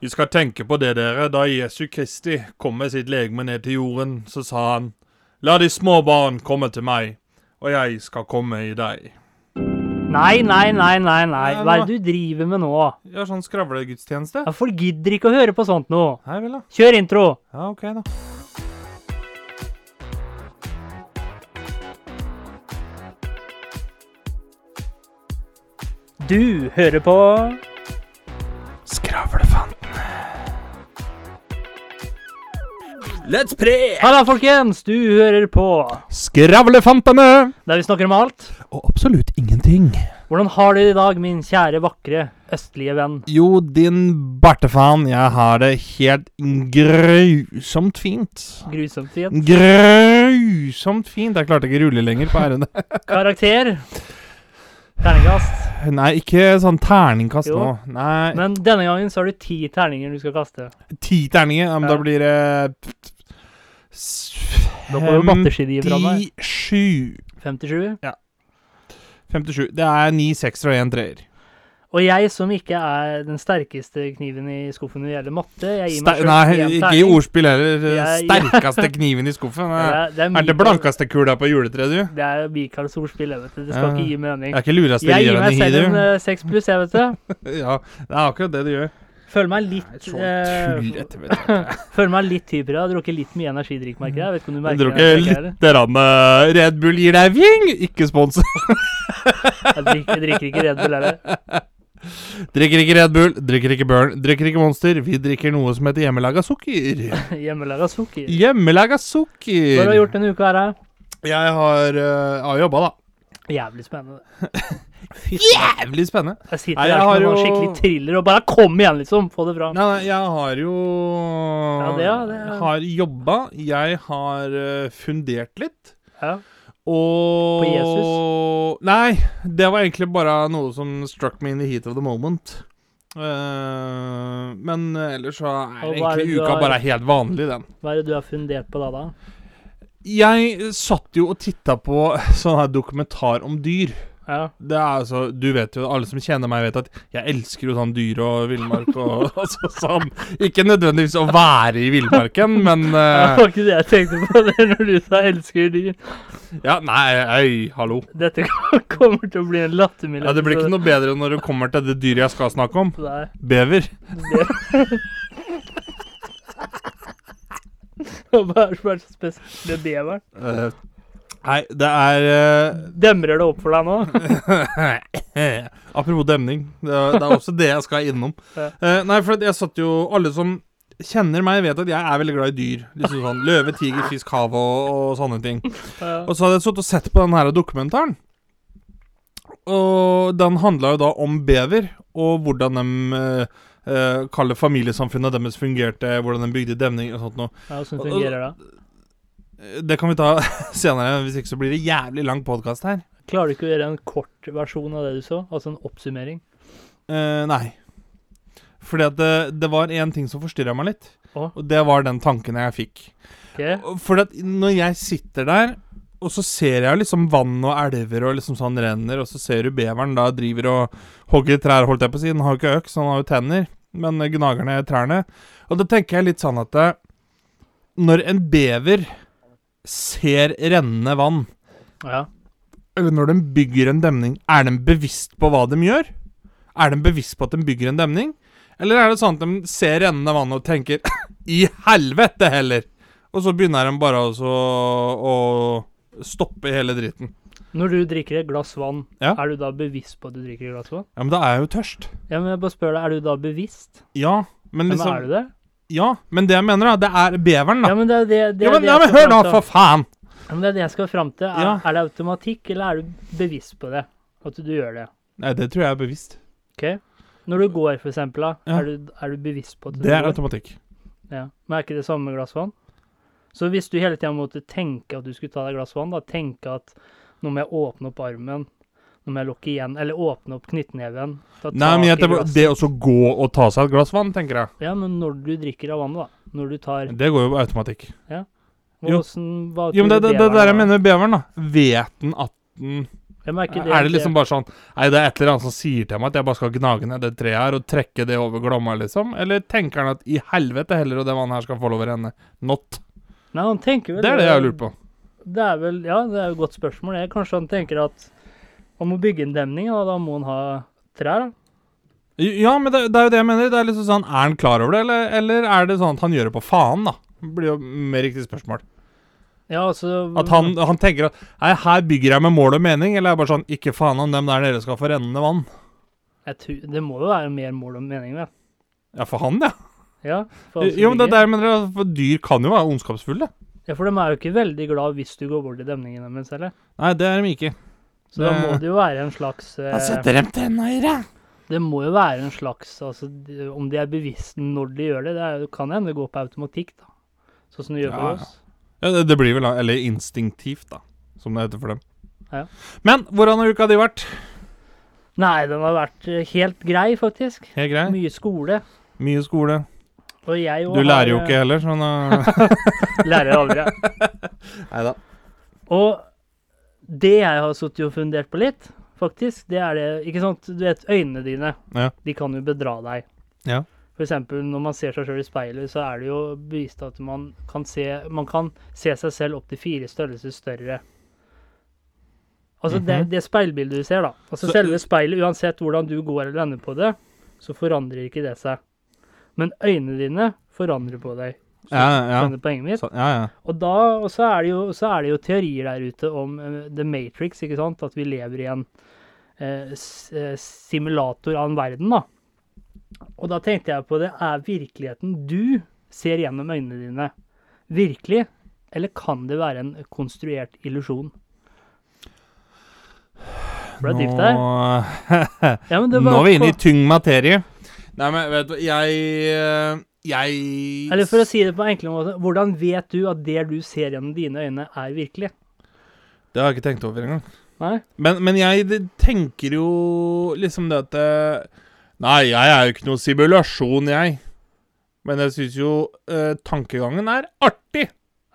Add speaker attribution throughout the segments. Speaker 1: Vi skal tenke på det, dere. Da Jesu Kristi kom med sitt legeme ned til jorden, så sa han, La de små barn komme til meg, og jeg skal komme i deg.
Speaker 2: Nei, nei, nei, nei, nei.
Speaker 1: Ja,
Speaker 2: Hva er
Speaker 1: nå-
Speaker 2: det du driver med nå?
Speaker 1: Ja, sånn skravlegudstjeneste?
Speaker 2: Ja, Folk gidder ikke å høre på sånt nå.
Speaker 1: Nei vel, da.
Speaker 2: Kjør intro.
Speaker 1: Ja, ok, da.
Speaker 2: Du hører på
Speaker 1: Skravlefanten.
Speaker 3: Let's pray!
Speaker 2: Halla, folkens! Du hører på
Speaker 1: Skravlefantene!
Speaker 2: der vi snakker om alt.
Speaker 1: Og absolutt ingenting.
Speaker 2: Hvordan har du det i dag, min kjære, vakre østlige venn?
Speaker 1: Jo, din bartefan, jeg har det helt grusomt fint.
Speaker 2: Grusomt igjen.
Speaker 1: Grusomt fint. Jeg klarte ikke rulle lenger på r-ene.
Speaker 2: Karakter. Terningkast.
Speaker 1: Nei, ikke sånn terningkast
Speaker 2: Jo.
Speaker 1: nå. Nei,
Speaker 2: Men denne gangen så har du ti terninger du skal kaste.
Speaker 1: ti terninger. Ja, men
Speaker 2: Ja.
Speaker 1: da blir det
Speaker 2: Da får du matteskidier fra meg.
Speaker 1: 57.
Speaker 2: 57.
Speaker 1: 57. Det er ni sekser og én treer.
Speaker 2: Og jeg som ikke er den sterkeste kniven i skuffen når det gjelder matte jeg gir meg
Speaker 1: Ste-
Speaker 2: selv
Speaker 1: Nei,
Speaker 2: en
Speaker 1: ikke i
Speaker 2: terning.
Speaker 1: ordspill heller.
Speaker 2: Jeg-
Speaker 1: Sterkeste kniven i skuffen.
Speaker 2: Det
Speaker 1: Er,
Speaker 2: er, det er,
Speaker 1: er det
Speaker 2: Mikael-
Speaker 1: blankeste kula på juletreet, du?
Speaker 2: Det er Michaels ordspill, jeg vet du. Det skal
Speaker 1: Ja.
Speaker 2: ikke gi mening.
Speaker 1: Jeg er ikke lureste
Speaker 2: Jeg gir meg
Speaker 1: i
Speaker 2: selv en
Speaker 1: livet,
Speaker 2: eh, seks pluss, jeg, vet du.
Speaker 1: du. Ja, det er akkurat det du gjør.
Speaker 2: Føler meg litt
Speaker 1: Sånn
Speaker 2: eh,
Speaker 1: tullete, vet du.
Speaker 2: Føler meg litt hyper. Jeg har drukket litt mye energidrikk, merker jeg. jeg. Vet ikke om du
Speaker 1: Jeg
Speaker 2: merker
Speaker 1: dro
Speaker 2: det,
Speaker 1: ikke
Speaker 2: merker jeg det.
Speaker 1: lite grann eh, Red Bull gir deg ving! Ikke spons.
Speaker 2: Jeg drikker, jeg drikker ikke Red Bull heller.
Speaker 1: Drikker ikke Red Bull, drikker ikke Burn, drikker ikke Monster. Vi drikker noe som heter hjemmelaga sukker.
Speaker 2: Hjemmelaga sukker.
Speaker 1: Hjemmelaga
Speaker 2: Hva har du
Speaker 1: sukker!
Speaker 2: gjort denne uka her, da?
Speaker 1: Jeg har, eh, har jobba, da.
Speaker 2: Jævlig spennende. Fy faen.
Speaker 1: Jævlig spennende.
Speaker 2: Jeg sitter
Speaker 1: Nei,
Speaker 2: her
Speaker 1: jeg
Speaker 2: som
Speaker 1: har
Speaker 2: en
Speaker 1: jo-
Speaker 2: sånn skikkelig thriller og bare kom igjen, liksom. Få det
Speaker 1: Nei,
Speaker 2: fram.
Speaker 1: nei, jeg har jo
Speaker 2: det, ja, det, ja.
Speaker 1: Har jobba. Jeg har eh, fundert litt.
Speaker 2: Ja.
Speaker 1: Og
Speaker 2: På Jesus?
Speaker 1: Nei, det var egentlig bare noe som struck me in the heat of the moment. Eh, men ellers så er
Speaker 2: Og
Speaker 1: det
Speaker 2: hva er det
Speaker 1: egentlig
Speaker 2: du
Speaker 1: uka
Speaker 2: har-
Speaker 1: bare er helt vanlig, den.
Speaker 2: Hva er det du har fundert på da, da?
Speaker 1: Jeg satt jo og titta på sånn her dokumentar om dyr.
Speaker 2: Ja.
Speaker 1: Det er altså, Du vet jo, alle som kjenner meg, vet at jeg elsker jo sånn dyr og villmark og altså sånn. Ikke nødvendigvis å være i villmarken, men
Speaker 2: Det
Speaker 1: eh,
Speaker 2: var ikke det jeg tenkte på det når du sa 'elsker dyr'.
Speaker 1: Ja, nei, ei, hallo.
Speaker 2: Dette kommer til å bli en lattermild
Speaker 1: Ja, Det blir ikke noe bedre når det kommer til det dyret jeg skal snakke om.
Speaker 2: Nei.
Speaker 1: Bever.
Speaker 2: Hva er det som er så spesielt med beveren?
Speaker 1: Eh, nei, det er
Speaker 2: Demrer det opp for deg nå?
Speaker 1: eh, Apropos demning. Det er, det er også det jeg skal innom.
Speaker 2: Ja.
Speaker 1: Eh, nei, for at jeg satt jo Alle som kjenner meg, vet at jeg er veldig glad i dyr. Liksom sånn Løve, tiger, fisk, hav og, og sånne ting.
Speaker 2: Ja.
Speaker 1: Og så hadde jeg sittet og sett på den her dokumentaren. Og den handla jo da om bever, og hvordan de eh, eh, kaller familiesamfunnet deres fungerte, hvordan de bygde demning og sånt noe.
Speaker 2: Ja, Åssen fungerer det?
Speaker 1: Eh, Det kan vi ta senere, hvis ikke så blir det jævlig lang podkast her.
Speaker 2: Klarer du ikke å gjøre en kort versjon av det du så? Altså en oppsummering?
Speaker 1: Eh, nei. Fordi at det, det var én ting som forstyrra meg litt,
Speaker 2: Å?
Speaker 1: og det var den tanken jeg fikk.
Speaker 2: Ok?
Speaker 1: For at når jeg sitter der, og så ser jeg liksom vann og elver og liksom sånn renner, og så ser du beveren da driver og hogger trær, holdt jeg på å si. Den har jo ikke øks, han har jo tenner, men gnager ned trærne. Og da tenker jeg litt sånn at eh, når en bever ser rennende vann,
Speaker 2: Ja.
Speaker 1: eller når de bygger en demning, er de bevisst på hva de gjør? Er de bevisst på at de bygger en demning? Eller er det sånn at de ser rennende vann og tenker I helvete heller! Og så begynner de bare altså å, å stoppe hele dritten.
Speaker 2: Når du drikker et glass vann,
Speaker 1: Ja.
Speaker 2: er du da bevisst på at du drikker et glass vann?
Speaker 1: Ja, men da er jeg jo tørst.
Speaker 2: Ja, men jeg bare spør deg, er du da bevisst?
Speaker 1: Ja, men
Speaker 2: Ja, men
Speaker 1: liksom
Speaker 2: er du det?
Speaker 1: Ja, men det jeg mener, da, det er beveren, da.
Speaker 2: Ja, men det er det, det,
Speaker 1: Ja,
Speaker 2: er
Speaker 1: men,
Speaker 2: det
Speaker 1: ja,
Speaker 2: jeg
Speaker 1: men
Speaker 2: skal
Speaker 1: hør nå,
Speaker 2: fram til.
Speaker 1: for faen!
Speaker 2: Ja, men det er det jeg skal fram til. Er,
Speaker 1: Ja.
Speaker 2: er det automatikk, eller er du bevisst på det? At du gjør det?
Speaker 1: Nei, det tror jeg er bevisst.
Speaker 2: Ok? Når du går, for eksempel, da,
Speaker 1: Ja.
Speaker 2: er, du, er du bevisst på at du
Speaker 1: Det er
Speaker 2: går?
Speaker 1: automatikk.
Speaker 2: Ja. Men er ikke det samme med glass vann? Så hvis du hele tida måtte tenke at du skulle ta deg et glass vann, da tenke at nå må jeg åpne opp armen, nå må jeg lukke igjen, eller åpne opp knyttneven ta
Speaker 1: Nei, men jeg,
Speaker 2: tak i
Speaker 1: tenker-
Speaker 2: glasset.
Speaker 1: det å så gå og ta seg et glass vann, tenker jeg.
Speaker 2: Ja, men når du drikker av vannet, da. Når du tar
Speaker 1: Det går jo på automatikk.
Speaker 2: Hva-
Speaker 1: jo.
Speaker 2: Hvordan, hva
Speaker 1: Jo, men
Speaker 2: tror
Speaker 1: det,
Speaker 2: du
Speaker 1: det, det
Speaker 2: var
Speaker 1: der
Speaker 2: da?
Speaker 1: jeg mener med beveren, da. Vet den at den
Speaker 2: Jeg merker det.
Speaker 1: Er det liksom bare sånn Nei, det er et eller annet som sier til meg at jeg bare skal gnage ned det treet her og trekke det over Glomma, liksom? Eller tenker han at i helvete heller, og det vannet her skal få lov å renne? Not.
Speaker 2: Nei, han tenker vel
Speaker 1: Det er det jeg lurer på.
Speaker 2: Det er vel, ja, det er jo et godt spørsmål. det. Kanskje han tenker at han må bygge en demning, og da må han ha trær. da.
Speaker 1: Ja, men det, det er jo det jeg mener. Det Er liksom sånn, er han klar over det, eller, eller er det sånn at han gjør det på faen, da? Det blir jo mer riktig spørsmål.
Speaker 2: Ja, altså,
Speaker 1: At han, han tenker at Nei, her bygger jeg med mål og mening, eller er det bare sånn Ikke faen om dem der nede skal få rennende vann.
Speaker 2: jeg tror, Det må jo være mer mål og mening, da.
Speaker 1: Ja, for han, ja.
Speaker 2: Ja, for han som
Speaker 1: Jo, men det
Speaker 2: bygger.
Speaker 1: der mener jeg, for dyr kan jo være ondskapsfulle.
Speaker 2: ja, for de er jo ikke veldig glad hvis du går bort i demningen deres heller.
Speaker 1: Nei, det er de ikke.
Speaker 2: Så da
Speaker 1: Det-
Speaker 2: må det jo være en slags eh,
Speaker 1: dem tenna i Altså, deg.
Speaker 2: Det må jo være en slags altså, de- Om de er bevisst når de gjør det, det er, kan hende det går på automatikk, da. Sånn som det gjør
Speaker 1: Ja,
Speaker 2: for
Speaker 1: ja.
Speaker 2: oss.
Speaker 1: Ja, det, det blir vel Eller instinktivt, da. Som det heter for dem.
Speaker 2: Ja.
Speaker 1: Men hvordan har uka di vært?
Speaker 2: Nei, den har vært eh, helt grei, faktisk.
Speaker 1: Helt grei?
Speaker 2: Mye skole.
Speaker 1: Mye skole.
Speaker 2: Og jeg jo
Speaker 1: Du lærer jo
Speaker 2: har,
Speaker 1: ikke heller, sånn uh...
Speaker 2: eh, Lærer aldri.
Speaker 1: Nei da.
Speaker 2: Og det jeg har sittet og fundert på litt, faktisk, det er det Ikke sant, du vet øynene dine,
Speaker 1: Ja.
Speaker 2: de kan jo bedra deg.
Speaker 1: Ja.
Speaker 2: For eksempel når man ser seg sjøl i speilet, så er det jo bevist at man kan se Man kan se seg selv opp til fire størrelser større. Altså det, det speilbildet du ser, da. Altså
Speaker 1: Mhm. Så-
Speaker 2: selve speilet, uansett hvordan du går eller lander på det, så forandrer ikke det seg. Men øynene dine forandrer på deg.
Speaker 1: Ja, ja.
Speaker 2: Skjønner du poenget mitt?
Speaker 1: Så, ja, ja.
Speaker 2: Og da, og så er, det jo, så er det jo teorier der ute om eh, The Matrix, ikke sant? At vi lever i en eh, s- eh, simulator av en verden, da. Og da tenkte jeg på det, er virkeligheten du ser gjennom øynene dine virkelig? Eller kan det være en konstruert illusjon? Ble det dypt der?
Speaker 1: Nå,
Speaker 2: Ja, men det
Speaker 1: Nå
Speaker 2: var
Speaker 1: er vi inne i
Speaker 2: på-
Speaker 1: tyng materie. Nei, men vet du hva, jeg eh, Jeg
Speaker 2: Eller for å si det på en enklere måte, hvordan vet du at det du ser gjennom dine øyne, er virkelig?
Speaker 1: Det har jeg ikke tenkt over engang.
Speaker 2: Nei?
Speaker 1: Men, men jeg d- tenker jo liksom det at eh, Nei, jeg er jo ikke noe simulasjon, jeg. Men jeg syns jo eh, tankegangen er artig.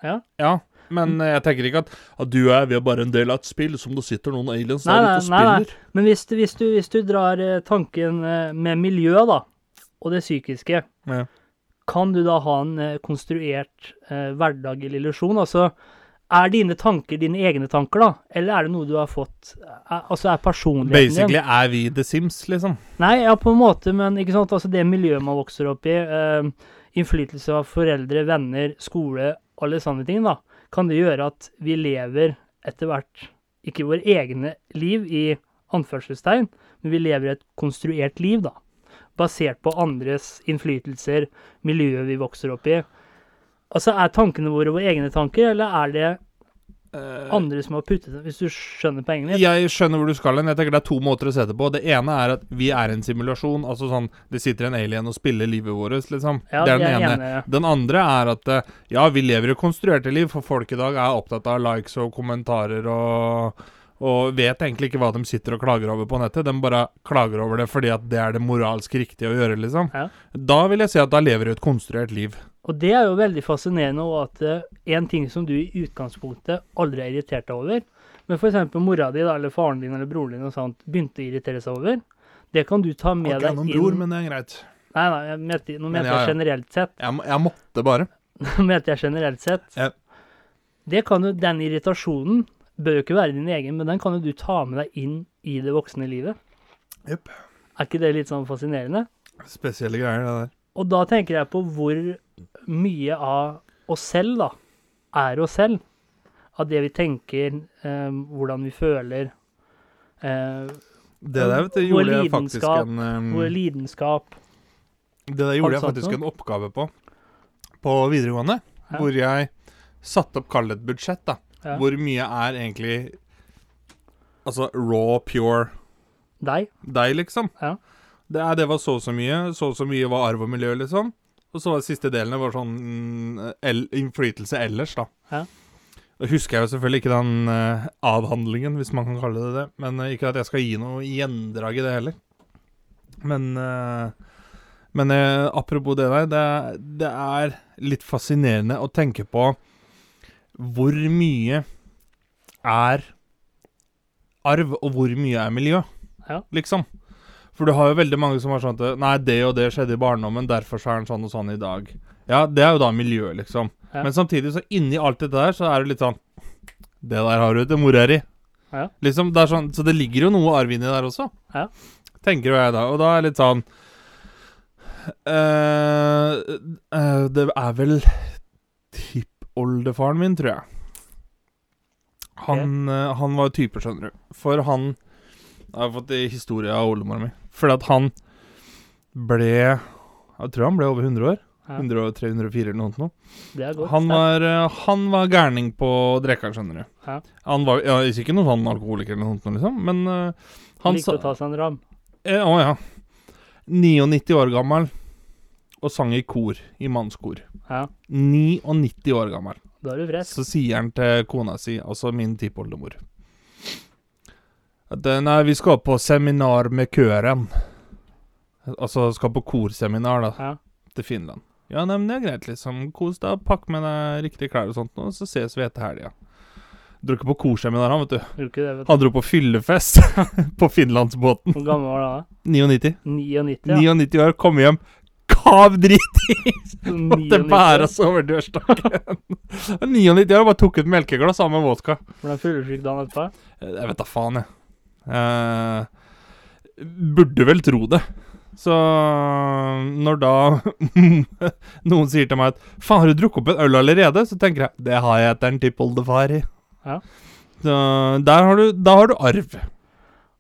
Speaker 2: Ja.
Speaker 1: Ja, Men eh, jeg tenker ikke at, at du og jeg vi er bare en del av et spill som det sitter noen aliens
Speaker 2: Nei,
Speaker 1: der ute
Speaker 2: nei,
Speaker 1: og
Speaker 2: nei, nei.
Speaker 1: spiller.
Speaker 2: Men hvis du, hvis du, hvis du drar eh, tanken eh, med miljøet, da, og det psykiske,
Speaker 1: Ja.
Speaker 2: kan du da ha en eh, konstruert eh, hverdag eller illusjon? Altså, er dine tanker dine egne tanker, da? Eller er det noe du har fått er, Altså, er personligheten
Speaker 1: Basically er vi The Sims, liksom.
Speaker 2: din Nei, ja, på en måte, men ikke sant? Altså, det miljøet man vokser opp i, eh, innflytelse av foreldre, venner, skole, alle sånne ting, da, kan det gjøre at vi lever etter hvert ikke våre egne liv i anførselstegn, men vi lever et konstruert liv, da. Basert på andres innflytelser, miljøet vi vokser opp i. Altså, er tankene våre våre egne tanker, eller er det
Speaker 1: Eh,
Speaker 2: andre som har puttet dem, hvis du skjønner poenget mitt?
Speaker 1: Jeg skjønner hvor du skal hen. Jeg tenker Det er to måter å se det på. Det ene er at vi er en simulasjon. Altså sånn Det sitter en alien og spiller livet vårt, liksom.
Speaker 2: Ja,
Speaker 1: det er den
Speaker 2: jeg er
Speaker 1: ene.
Speaker 2: enig, ja.
Speaker 1: Den andre er at eh, ja, vi lever i konstruerte liv, for folk i dag er opptatt av likes og kommentarer og og vet egentlig ikke hva de sitter og klager over på nettet. De bare klager over det fordi at det er det moralsk riktige å gjøre, liksom.
Speaker 2: Ja.
Speaker 1: Da vil jeg si at da lever du et konstruert liv.
Speaker 2: Og det er jo veldig fascinerende og at eh, en ting som du i utgangspunktet aldri er irritert deg over, men f.eks. mora di da, eller faren din eller broren din og sånt, begynte å irritere seg over, det kan du ta med
Speaker 1: Ikke
Speaker 2: deg
Speaker 1: noen
Speaker 2: inn
Speaker 1: bror, men det er greit.
Speaker 2: Nei, nei, jeg mente, nå
Speaker 1: Men
Speaker 2: mente
Speaker 1: ja,
Speaker 2: jeg
Speaker 1: ja.
Speaker 2: generelt sett.
Speaker 1: Jeg, må- jeg måtte bare.
Speaker 2: Nå mente jeg generelt sett.
Speaker 1: Ja.
Speaker 2: Det kan jo, den irritasjonen bør jo ikke være din egen, men den kan jo du ta med deg inn i det voksne livet.
Speaker 1: Jepp.
Speaker 2: Er ikke det litt sånn fascinerende?
Speaker 1: Spesielle greier, det der.
Speaker 2: Og da tenker jeg på hvor mye av oss selv, da, er oss selv. Av det vi tenker, eh, hvordan vi føler, eh,
Speaker 1: Det der vet du,
Speaker 2: Vår
Speaker 1: gjorde jeg faktisk
Speaker 2: lidenskap,
Speaker 1: en eh,
Speaker 2: vår lidenskap.
Speaker 1: Det der gjorde jeg
Speaker 2: Har du satt
Speaker 1: faktisk en oppgave på på videregående.
Speaker 2: Ja.
Speaker 1: Hvor jeg satte opp, kall det et budsjett, da.
Speaker 2: Ja.
Speaker 1: Hvor mye er egentlig Altså raw, pure
Speaker 2: Deg.
Speaker 1: deg, liksom.
Speaker 2: Ja.
Speaker 1: Det, er, det var så og så mye. Så og så mye var arv og miljø, liksom. Og så var det siste delen det var sånn mm, el, innflytelse ellers, da.
Speaker 2: Ja.
Speaker 1: Da husker jeg jo selvfølgelig ikke den eh, avhandlingen, hvis man kan kalle det det. Men eh, ikke at jeg skal gi noe gjendrag i det heller. Men eh, Men eh, apropos det der, det, det er litt fascinerende å tenke på hvor mye er arv, og hvor mye er miljø,
Speaker 2: Ja.
Speaker 1: liksom. For du har jo veldig mange som har sånn at Nei, det og det skjedde i barndommen, derfor så er den sånn og sånn i dag. Ja, det er jo da miljø, liksom.
Speaker 2: Ja.
Speaker 1: Men samtidig, så inni alt dette der, så er det litt sånn Det der har du til mora di.
Speaker 2: Ja.
Speaker 1: Liksom, det er sånn, så det ligger jo noe arv inni der også,
Speaker 2: Ja.
Speaker 1: tenker jo jeg da. Og da er det litt sånn eh, eh, Det er vel tippoldefaren min, tror jeg. Han, eh, han var type, skjønner du. For han Jeg har fått i historie av oldemora mi. Fordi at han ble Jeg tror han ble over 100 år.
Speaker 2: Ja.
Speaker 1: 103, 104 eller noe sånt. nå.
Speaker 2: Det er godt.
Speaker 1: Han
Speaker 2: det.
Speaker 1: var, eh, han var gærning på å drikke, skjønner du.
Speaker 2: Ja.
Speaker 1: Han var ja, ikke noen sånn alkoholiker eller noe sånt, liksom, men eh,
Speaker 2: Han
Speaker 1: han
Speaker 2: likte
Speaker 1: sa
Speaker 2: å ta seg en ram.
Speaker 1: Eh, Å ja. 99 år gammel og sang i kor, i mannskor.
Speaker 2: Ja,
Speaker 1: 99 år gammel.
Speaker 2: da er du frisk.
Speaker 1: Så sier han til kona si, altså min tippoldemor at eh, nei, vi skal på seminar med køren. Altså skal på korseminar, da
Speaker 2: Ja.
Speaker 1: til Finland. Ja, nei, men det er greit, liksom. Kos deg, pakk med deg riktige klær og sånt, og så ses vi etter helga. Dro ikke på korseminar, han, vet du.
Speaker 2: Gjorde ikke det, vet du.
Speaker 1: Han dro på fyllefest på finlandsbåten.
Speaker 2: Hvor gammel var han da?
Speaker 1: 99.
Speaker 2: 99? Ja.
Speaker 1: 99 år, kom hjem. Kav drit!
Speaker 2: Så
Speaker 1: Måtte
Speaker 2: 99.
Speaker 1: bære oss over dørstokken. 99 år, bare tok et melkeglass sammen med vodka.
Speaker 2: Hvordan fyllesyk dagen etterpå?
Speaker 1: Jeg vet da faen, jeg. Eh, burde vel tro det. Så når da noen sier til meg at 'faen, har du drukket opp en øl allerede?' så tenker jeg 'det har jeg etter en tippoldefar i'.
Speaker 2: Ja.
Speaker 1: Så der har du, da har du arv.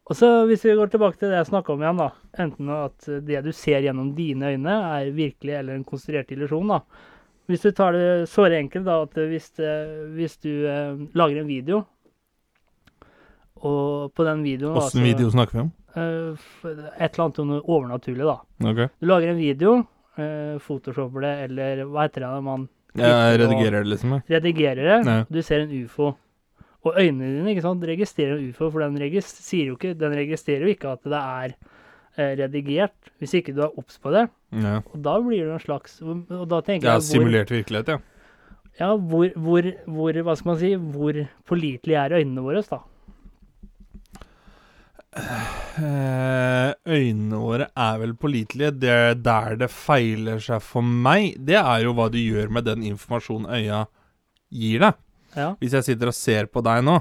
Speaker 2: Og så hvis vi går tilbake til det jeg snakka om igjen, da. Enten at det du ser gjennom dine øyne er virkelig eller en konstruert illusjon, da. Hvis du tar det såre enkelt, da, at hvis, det, hvis du eh, lager en video, og på den videoen da,
Speaker 1: Åssen
Speaker 2: så-
Speaker 1: video snakker vi om?
Speaker 2: Eh, f- et eller annet om noe overnaturlig, da.
Speaker 1: Ok.
Speaker 2: Du lager en video, eh, photoshopper det, eller hva heter det når man
Speaker 1: Jeg
Speaker 2: klipper og
Speaker 1: redigerer det, liksom. Jeg.
Speaker 2: Redigerer det.
Speaker 1: Ja.
Speaker 2: Du ser en ufo. Og øynene dine ikke sant, registrerer en ufo, for den, regis- sier jo ikke, den registrerer jo ikke at det er eh, redigert, hvis ikke du er obs på det.
Speaker 1: Ja.
Speaker 2: Og da blir det en slags Og da tenker
Speaker 1: Jeg har
Speaker 2: jeg hvor,
Speaker 1: simulert virkelighet, ja.
Speaker 2: ja, hvor, hvor, hvor Hva skal man si? Hvor pålitelige er øynene våre, da?
Speaker 1: Eh, øynene våre er vel pålitelige. Det der det feiler seg for meg, det er jo hva du gjør med den informasjonen øya gir deg.
Speaker 2: Ja.
Speaker 1: Hvis jeg sitter og ser på deg nå,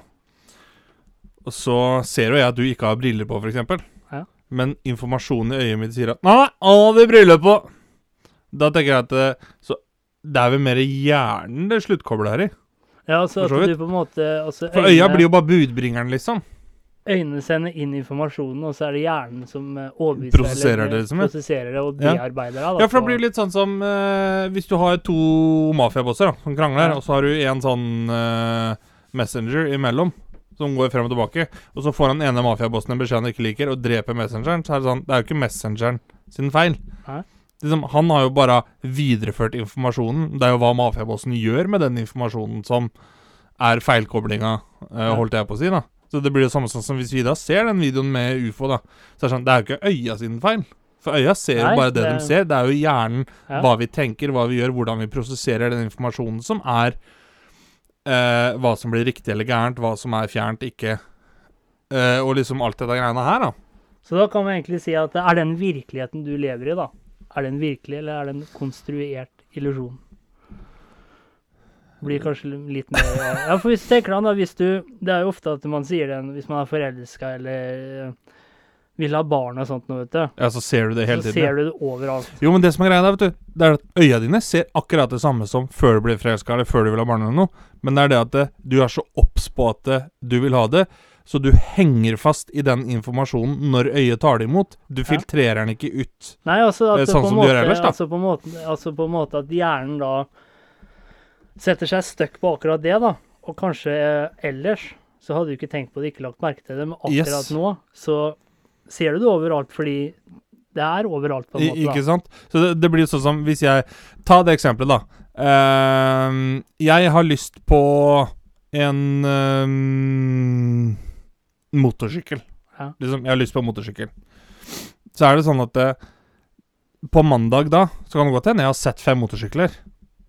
Speaker 1: og så ser jo jeg at du ikke har briller på, f.eks.
Speaker 2: Ja.
Speaker 1: Men informasjonen i øyet mitt sier at 'Nei, han hadde briller på!' Da tenker jeg at eh, Så det er vel mer hjernen det sluttkobler her i.
Speaker 2: ja altså
Speaker 1: For så
Speaker 2: at du
Speaker 1: vidt.
Speaker 2: på en måte altså,
Speaker 1: For øya blir jo bare budbringeren, liksom.
Speaker 2: øynene sender inn informasjonen, og så er det hjernen som eh, overbeviser
Speaker 1: Prosesserer
Speaker 2: eller
Speaker 1: det, liksom, ja.
Speaker 2: prosesserer det og
Speaker 1: Ja.
Speaker 2: bearbeider det. da,
Speaker 1: Ja, for det
Speaker 2: på-
Speaker 1: blir litt sånn som eh, hvis du har to mafiabosser da, som krangler,
Speaker 2: Ja.
Speaker 1: og så har du en sånn eh, messenger imellom som går frem og tilbake, og så får han ene mafiabossen en beskjed han ikke liker, og dreper messengeren, så er det sånn Det er jo ikke messengeren sin feil.
Speaker 2: Nei.
Speaker 1: Liksom, han har jo bare videreført informasjonen. Det er jo hva mafiabossen gjør med den informasjonen som er feilkoblinga, eh,
Speaker 2: Ja.
Speaker 1: holdt jeg på å si, da. Så det blir jo samme sånn som hvis vi da ser den videoen med ufo, da. Så er det sånn Det er jo ikke øya sin feil. For øya ser
Speaker 2: Nei,
Speaker 1: jo bare det,
Speaker 2: det-
Speaker 1: de ser. Det er jo hjernen,
Speaker 2: Ja.
Speaker 1: hva vi tenker, hva vi gjør, hvordan vi prosesserer den informasjonen som er eh, Hva som blir riktig eller gærent, hva som er fjernt, ikke. Eh, og liksom alt dette greiene her, da.
Speaker 2: Så da kan man egentlig si at er den virkeligheten du lever i, da, er den virkelig, eller er den konstruert illusjon? Blir kanskje litt mer Ja, for hvis du tenker deg da, hvis du Det er jo ofte at man sier den hvis man er forelska eller eh, vil ha barn og sånt noe, vet du.
Speaker 1: Ja, så ser du det hele
Speaker 2: Så
Speaker 1: tiden.
Speaker 2: ser du det overalt.
Speaker 1: Jo, men det som er greia der, vet du, det er at øya dine ser akkurat det samme som før du blir forelska eller før du vil ha barn eller noe, men det er det at det, du er så obs på at det, du vil ha det, så du henger fast i den informasjonen når øyet tar det imot. Du filtrerer den ikke ut.
Speaker 2: Nei, altså at
Speaker 1: Eh,
Speaker 2: det
Speaker 1: sånn
Speaker 2: på
Speaker 1: som
Speaker 2: en
Speaker 1: du
Speaker 2: måte,
Speaker 1: gjør ellers, da.
Speaker 2: Altså på, en måte, altså på en måte at hjernen da setter seg støkk på akkurat det, da. Og kanskje eh, ellers så hadde du ikke tenkt på det, ikke lagt merke til det, men akkurat
Speaker 1: Yes.
Speaker 2: nå så ser du det overalt fordi det er overalt, på en
Speaker 1: I,
Speaker 2: måte.
Speaker 1: ikke sant? Så det, det blir jo sånn som hvis jeg Ta det eksempelet, da. Ehm, jeg har lyst på en ehm, motorsykkel.
Speaker 2: Ja.
Speaker 1: Liksom, jeg har lyst på en motorsykkel. Så er det sånn at eh, på mandag da, så kan det godt hende jeg har sett fem motorsykler.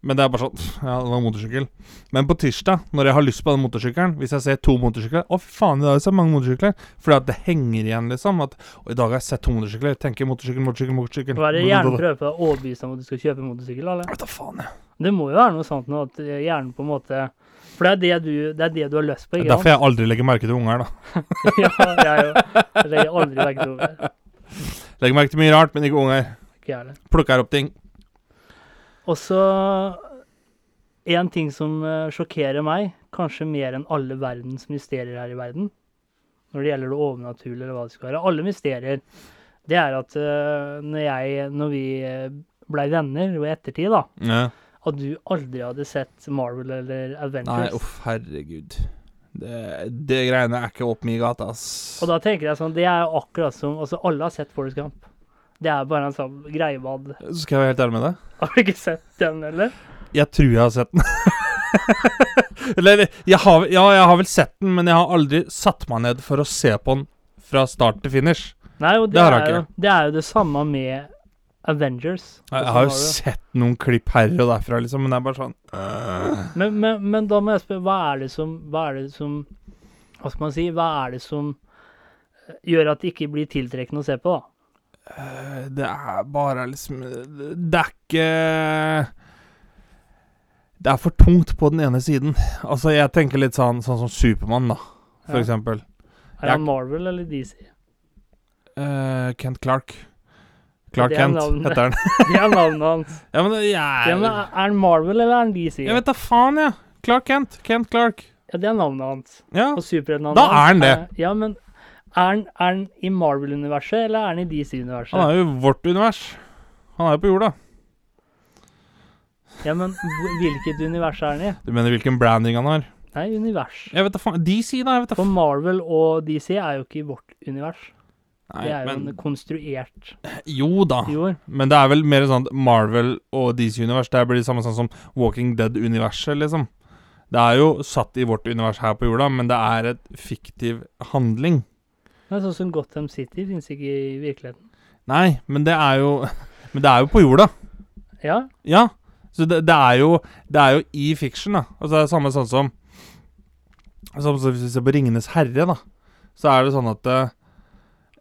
Speaker 1: Men det er bare sånn pff, Ja, det var en motorsykkel. Men på tirsdag, når jeg har lyst på den motorsykkelen, hvis jeg ser to motorsykler Å, fy faen, i dag er det så mange motorsykler. Fordi at det henger igjen, liksom. At og i dag har jeg sett to motorsykler. Tenker motorsykkel, motorsykkel, motorsykkel.
Speaker 2: Hva er det hjernen prøver på deg å overbevise deg om at du skal kjøpe motorsykkel? eller?
Speaker 1: Vet da faen, jeg.
Speaker 2: Det må jo være noe sånt nå at eh, hjernen på en måte For det er det du, det er det du har lyst
Speaker 1: Det
Speaker 2: på,
Speaker 1: er
Speaker 2: ikke
Speaker 1: derfor jeg aldri legger merke til unger, da.
Speaker 2: sant? ja, jeg jo. Jeg legger aldri vekk til over.
Speaker 1: Legger merke til mye rart, men ikke unger.
Speaker 2: Ikke jeg heller.
Speaker 1: Plukker opp ting.
Speaker 2: Og så en ting som eh, sjokkerer meg, kanskje mer enn alle verdens mysterier her i verden, når det gjelder det overnaturlige eller hva det skal være, alle mysterier, det er at eh, når jeg, når vi eh, blei venner og i ettertid, da,
Speaker 1: Ja.
Speaker 2: at du aldri hadde sett Marvel eller
Speaker 1: Nei,
Speaker 2: Adventures.
Speaker 1: uff, herregud. Det, det greiene er ikke opp min gate, ass.
Speaker 2: og da tenker jeg sånn, det er jo akkurat som Altså, alle har sett Forrest Gump. Det er bare en sånn greiebad.
Speaker 1: Skal jeg være helt ærlig med deg?
Speaker 2: Har du ikke sett den, eller?
Speaker 1: Jeg tror jeg har sett den. Eller eller, jeg har, Ja, jeg har vel sett den, men jeg har aldri satt meg ned for å se på den fra start til finish.
Speaker 2: Nei, og det,
Speaker 1: Det har jeg
Speaker 2: er, jo, det er jo det samme med Avengers.
Speaker 1: Jeg,
Speaker 2: Altså,
Speaker 1: jeg har jo
Speaker 2: Marvel.
Speaker 1: sett noen klipp her og derfra, liksom, men det er bare sånn øh.
Speaker 2: Men, men, men da må jeg spørre, hva er det som Hva er det som Hva skal man si? Hva er det som eh, gjør at det ikke blir tiltrekkende å se på, da?
Speaker 1: eh, Det er bare liksom Det er ikke Det er for tungt på den ene siden. Altså, jeg tenker litt sånn, sånn som Supermann, da, for
Speaker 2: Ja.
Speaker 1: eksempel.
Speaker 2: Er det Marvel eller DC?
Speaker 1: Eh, Kent Clark. Clark
Speaker 2: Det er
Speaker 1: Kent
Speaker 2: navnet.
Speaker 1: heter han.
Speaker 2: Det er navnet hans.
Speaker 1: ja, men jeg,
Speaker 2: Ja, men er er han Marvel eller er han DC?
Speaker 1: jeg vet da faen, jeg. Ja. Clark Kent. Kent Clark.
Speaker 2: Ja, det er navnet hans.
Speaker 1: Ja.
Speaker 2: Og superheltnavnet
Speaker 1: Da er han det.
Speaker 2: er- Ja, men er han, er han i Marvel-universet, eller er han i DC-universet?
Speaker 1: Han er jo i vårt univers. Han er jo på jorda.
Speaker 2: Ja, men hvor- hvilket univers er han i?
Speaker 1: Du mener hvilken branding han har?
Speaker 2: Nei, univers.
Speaker 1: Jeg vet da faen. DC, da? Jeg vet da
Speaker 2: For
Speaker 1: faen.
Speaker 2: Marvel og DC er jo ikke i vårt univers.
Speaker 1: Nei,
Speaker 2: Det er jo en
Speaker 1: men
Speaker 2: konstruert
Speaker 1: Jo da.
Speaker 2: jord.
Speaker 1: Men det er vel mer sånn at Marvel og DC-univers Det blir det samme sånn som Walking Dead-universet, liksom. Det er jo satt i vårt univers her på jorda, men det er et fiktiv handling.
Speaker 2: Det er sånn som Gotham City finnes ikke i virkeligheten.
Speaker 1: Nei, men det er jo Men det er jo på jorda.
Speaker 2: Ja,
Speaker 1: Ja. Så det, det er jo Det er jo i fiction, da. Altså det er samme sånn som Som som hvis vi ser på Ringenes herre, da. Så er det sånn at eh,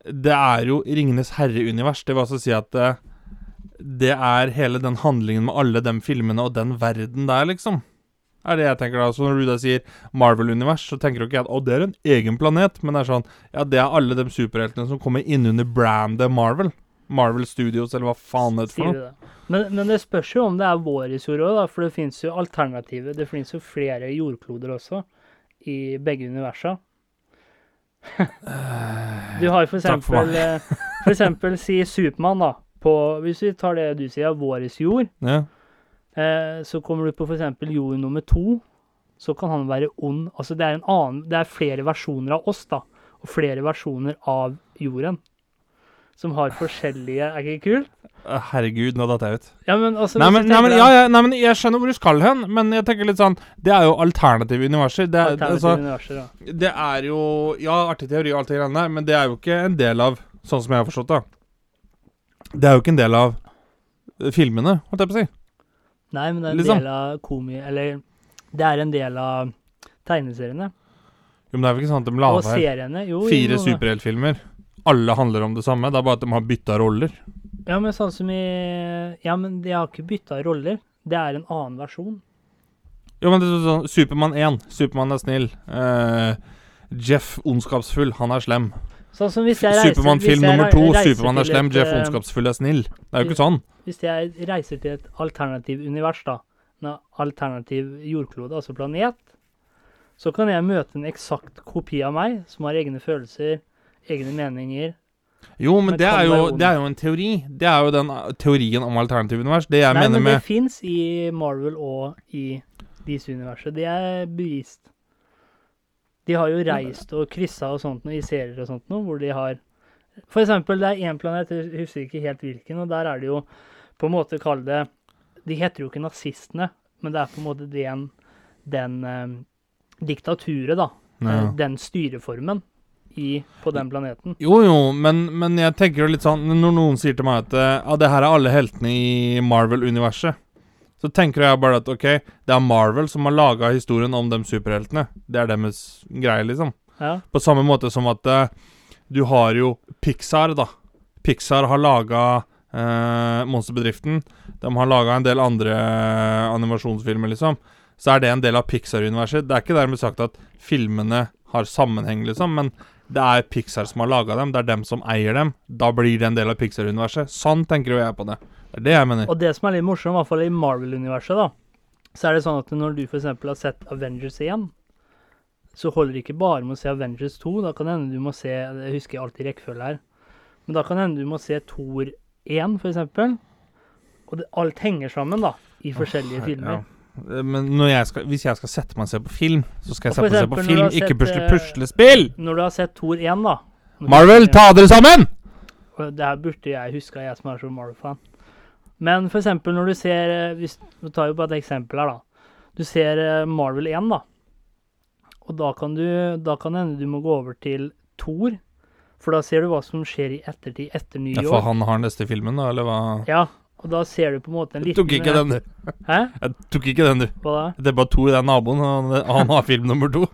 Speaker 1: Det er jo Ringenes herre-univers. Det vil altså si at eh, det er hele den handlingen med alle de filmene og den verden der, liksom. Er det jeg tenker da. Så når du da sier Marvel-univers, så tenker du ikke at å, det er en egen planet, men det er sånn Ja, det er alle de superheltene som kommer innunder brandet Marvel. Marvel Studios, eller hva faen det heter for
Speaker 2: sier
Speaker 1: noe.
Speaker 2: du det. Men, men det spørs jo om det er vår jord òg, da. For det finnes jo alternativer. Det finnes jo flere jordkloder også, i begge universa. Du har for
Speaker 1: Eh, Takk for
Speaker 2: eksempel eh, For eksempel si Supermann, da. På, hvis vi tar det du sier, vår jord,
Speaker 1: Ja.
Speaker 2: eh, så kommer du på for eksempel jord nummer to. Så kan han være ond. Altså det er en annen Det er flere versjoner av oss, da. Og flere versjoner av jorden. Som har forskjellige Er ikke kult?
Speaker 1: Herregud, nå datt jeg ut.
Speaker 2: Ja, men altså
Speaker 1: Nei
Speaker 2: hvis
Speaker 1: men,
Speaker 2: du
Speaker 1: nei,
Speaker 2: tenker
Speaker 1: men,
Speaker 2: deg-
Speaker 1: ja, ja, nei, men jeg skjønner hvor du skal hen, men jeg tenker litt sånn Det er jo alternative universer. Det er,
Speaker 2: Alternative
Speaker 1: altså,
Speaker 2: universer, da.
Speaker 1: det er jo Ja, artig teori og alt det greiene der, men det er jo ikke en del av Sånn som jeg har forstått det. Det er jo ikke en del av eh, filmene, holdt jeg på å si.
Speaker 2: Nei, men det er en
Speaker 1: Liksom.
Speaker 2: del av komi... Eller det er en del av tegneseriene.
Speaker 1: Jo, men det er jo ikke sånn at de
Speaker 2: og
Speaker 1: lager her
Speaker 2: seriene. Jo, jo,
Speaker 1: fire
Speaker 2: jo.
Speaker 1: superheltfilmer. Alle handler om det samme, det er bare at de har bytta roller.
Speaker 2: Ja, men sånn som i Ja, men de har ikke bytta roller. Det er en annen versjon.
Speaker 1: Jo, men det er sånn Supermann 1. Supermann er snill. Eh, Jeff ondskapsfull. Han er slem.
Speaker 2: Sånn som hvis jeg reiser
Speaker 1: Supermann
Speaker 2: hvis jeg
Speaker 1: film nummer
Speaker 2: rei-
Speaker 1: to.
Speaker 2: reiser
Speaker 1: Supermann er
Speaker 2: til
Speaker 1: slem,
Speaker 2: et,
Speaker 1: Jeff
Speaker 2: eh,
Speaker 1: ondskapsfull er snill. Det er jo ikke sånn.
Speaker 2: Hvis jeg reiser til et alternativ univers, da. En alternativ jordklode, altså planet. Så kan jeg møte en eksakt kopi av meg, som har egne følelser, egne meninger.
Speaker 1: Jo, men
Speaker 2: Men
Speaker 1: det
Speaker 2: kan
Speaker 1: er
Speaker 2: være
Speaker 1: jo,
Speaker 2: ond.
Speaker 1: det er jo en teori. Det er jo den eh, teorien om alternative univers. Det jeg
Speaker 2: Nei,
Speaker 1: mener
Speaker 2: men det
Speaker 1: med
Speaker 2: fins i Marvel og i DC-universet. Det er bevist. De har jo reist og kryssa og sånt noe i serier og sånt noe, hvor de har For eksempel, det er én planet, jeg husker ikke helt hvilken, og der er det jo på en måte kall det De heter jo ikke nazistene, men det er på en måte den, den eh, diktaturet, da.
Speaker 1: Ja.
Speaker 2: Eh, Den styreformen i, på den planeten.
Speaker 1: Jo, jo, men, men jeg tenker jo litt sånn Når noen sier til meg at eh, ja, det her er alle heltene i Marvel-universet, Så tenker jeg bare at ok, det er Marvel som har laga historien om de superheltene. Det er deres greie, liksom.
Speaker 2: Ja.
Speaker 1: På samme måte som at eh, du har jo Pixar, da. Pixar har laga eh, Monsterbedriften. De har laga en del andre eh, animasjonsfilmer, liksom. Så er det en del av Pixar-universet. Det er ikke dermed sagt at filmene har sammenheng, liksom, men det er Pixar som har laga dem. Det er dem som eier dem. Da blir det en del av Pixar-universet. Sånn tenker jo jeg på det. Det er det jeg mener.
Speaker 2: Og det som er litt morsomt, i hvert fall i Marvel-universet, da, så er det sånn at når du f.eks. har sett Avengers 1, så holder det ikke bare med å se Avengers 2. Da kan det hende du må se Jeg husker alltid rekkefølge her. Men da kan det hende du må se Thor 1, f.eks. Og det, alt henger sammen, da, i forskjellige filmer.
Speaker 1: Ja. Eh, Men når jeg skal, hvis jeg skal sette meg og se på film, så skal jeg
Speaker 2: Og for
Speaker 1: sette meg og se på
Speaker 2: eksempel
Speaker 1: film,
Speaker 2: når du har
Speaker 1: ikke
Speaker 2: sett,
Speaker 1: pusle
Speaker 2: eh,
Speaker 1: puslespill!
Speaker 2: Når du har sett Thor 1, da når du-
Speaker 1: Marvel, ta dere sammen!
Speaker 2: Og Det her burde jeg huska, jeg som er så Marvel-fan. Men for eksempel når du ser eh, hvis, Vi tar jo bare et eksempel her, da. Du ser eh, Marvel 1, da. Og da kan du Da kan det hende du må gå over til Thor. For da ser du hva som skjer i ettertid etter New
Speaker 1: Ja, for
Speaker 2: York.
Speaker 1: han har neste filmen, da, eller hva?
Speaker 2: Ja, og da ser du på en måte en
Speaker 1: Jeg
Speaker 2: liten eh,
Speaker 1: tok ikke den, du.
Speaker 2: Hæ?
Speaker 1: Jeg tok ikke den, du.
Speaker 2: Hva da?
Speaker 1: Det er bare to i den naboen, og han- han har film nummer to.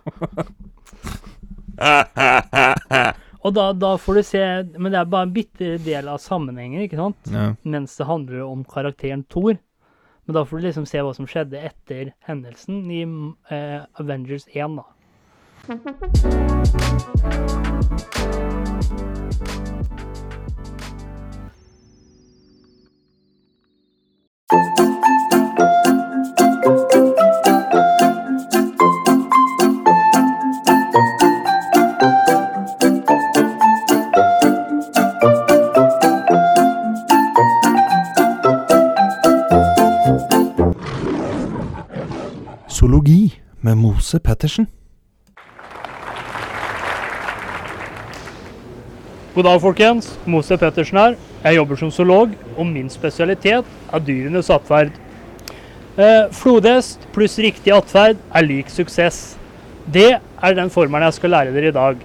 Speaker 2: Og da, da får du se Men det er bare en bitte del av sammenhengen, ikke sant?
Speaker 1: Ja.
Speaker 2: mens det handler om karakteren Thor. Men da får du liksom se hva som skjedde etter hendelsen i mm, eh, Avengers 1, da.
Speaker 1: Zoologi med Mose Pettersen.
Speaker 2: God dag, folkens. Mose Pettersen her. Jeg jobber som zoolog, og min spesialitet er dyrenes atferd. Eh, flodhest pluss riktig atferd er lik suksess. Det er den formelen jeg skal lære dere i dag.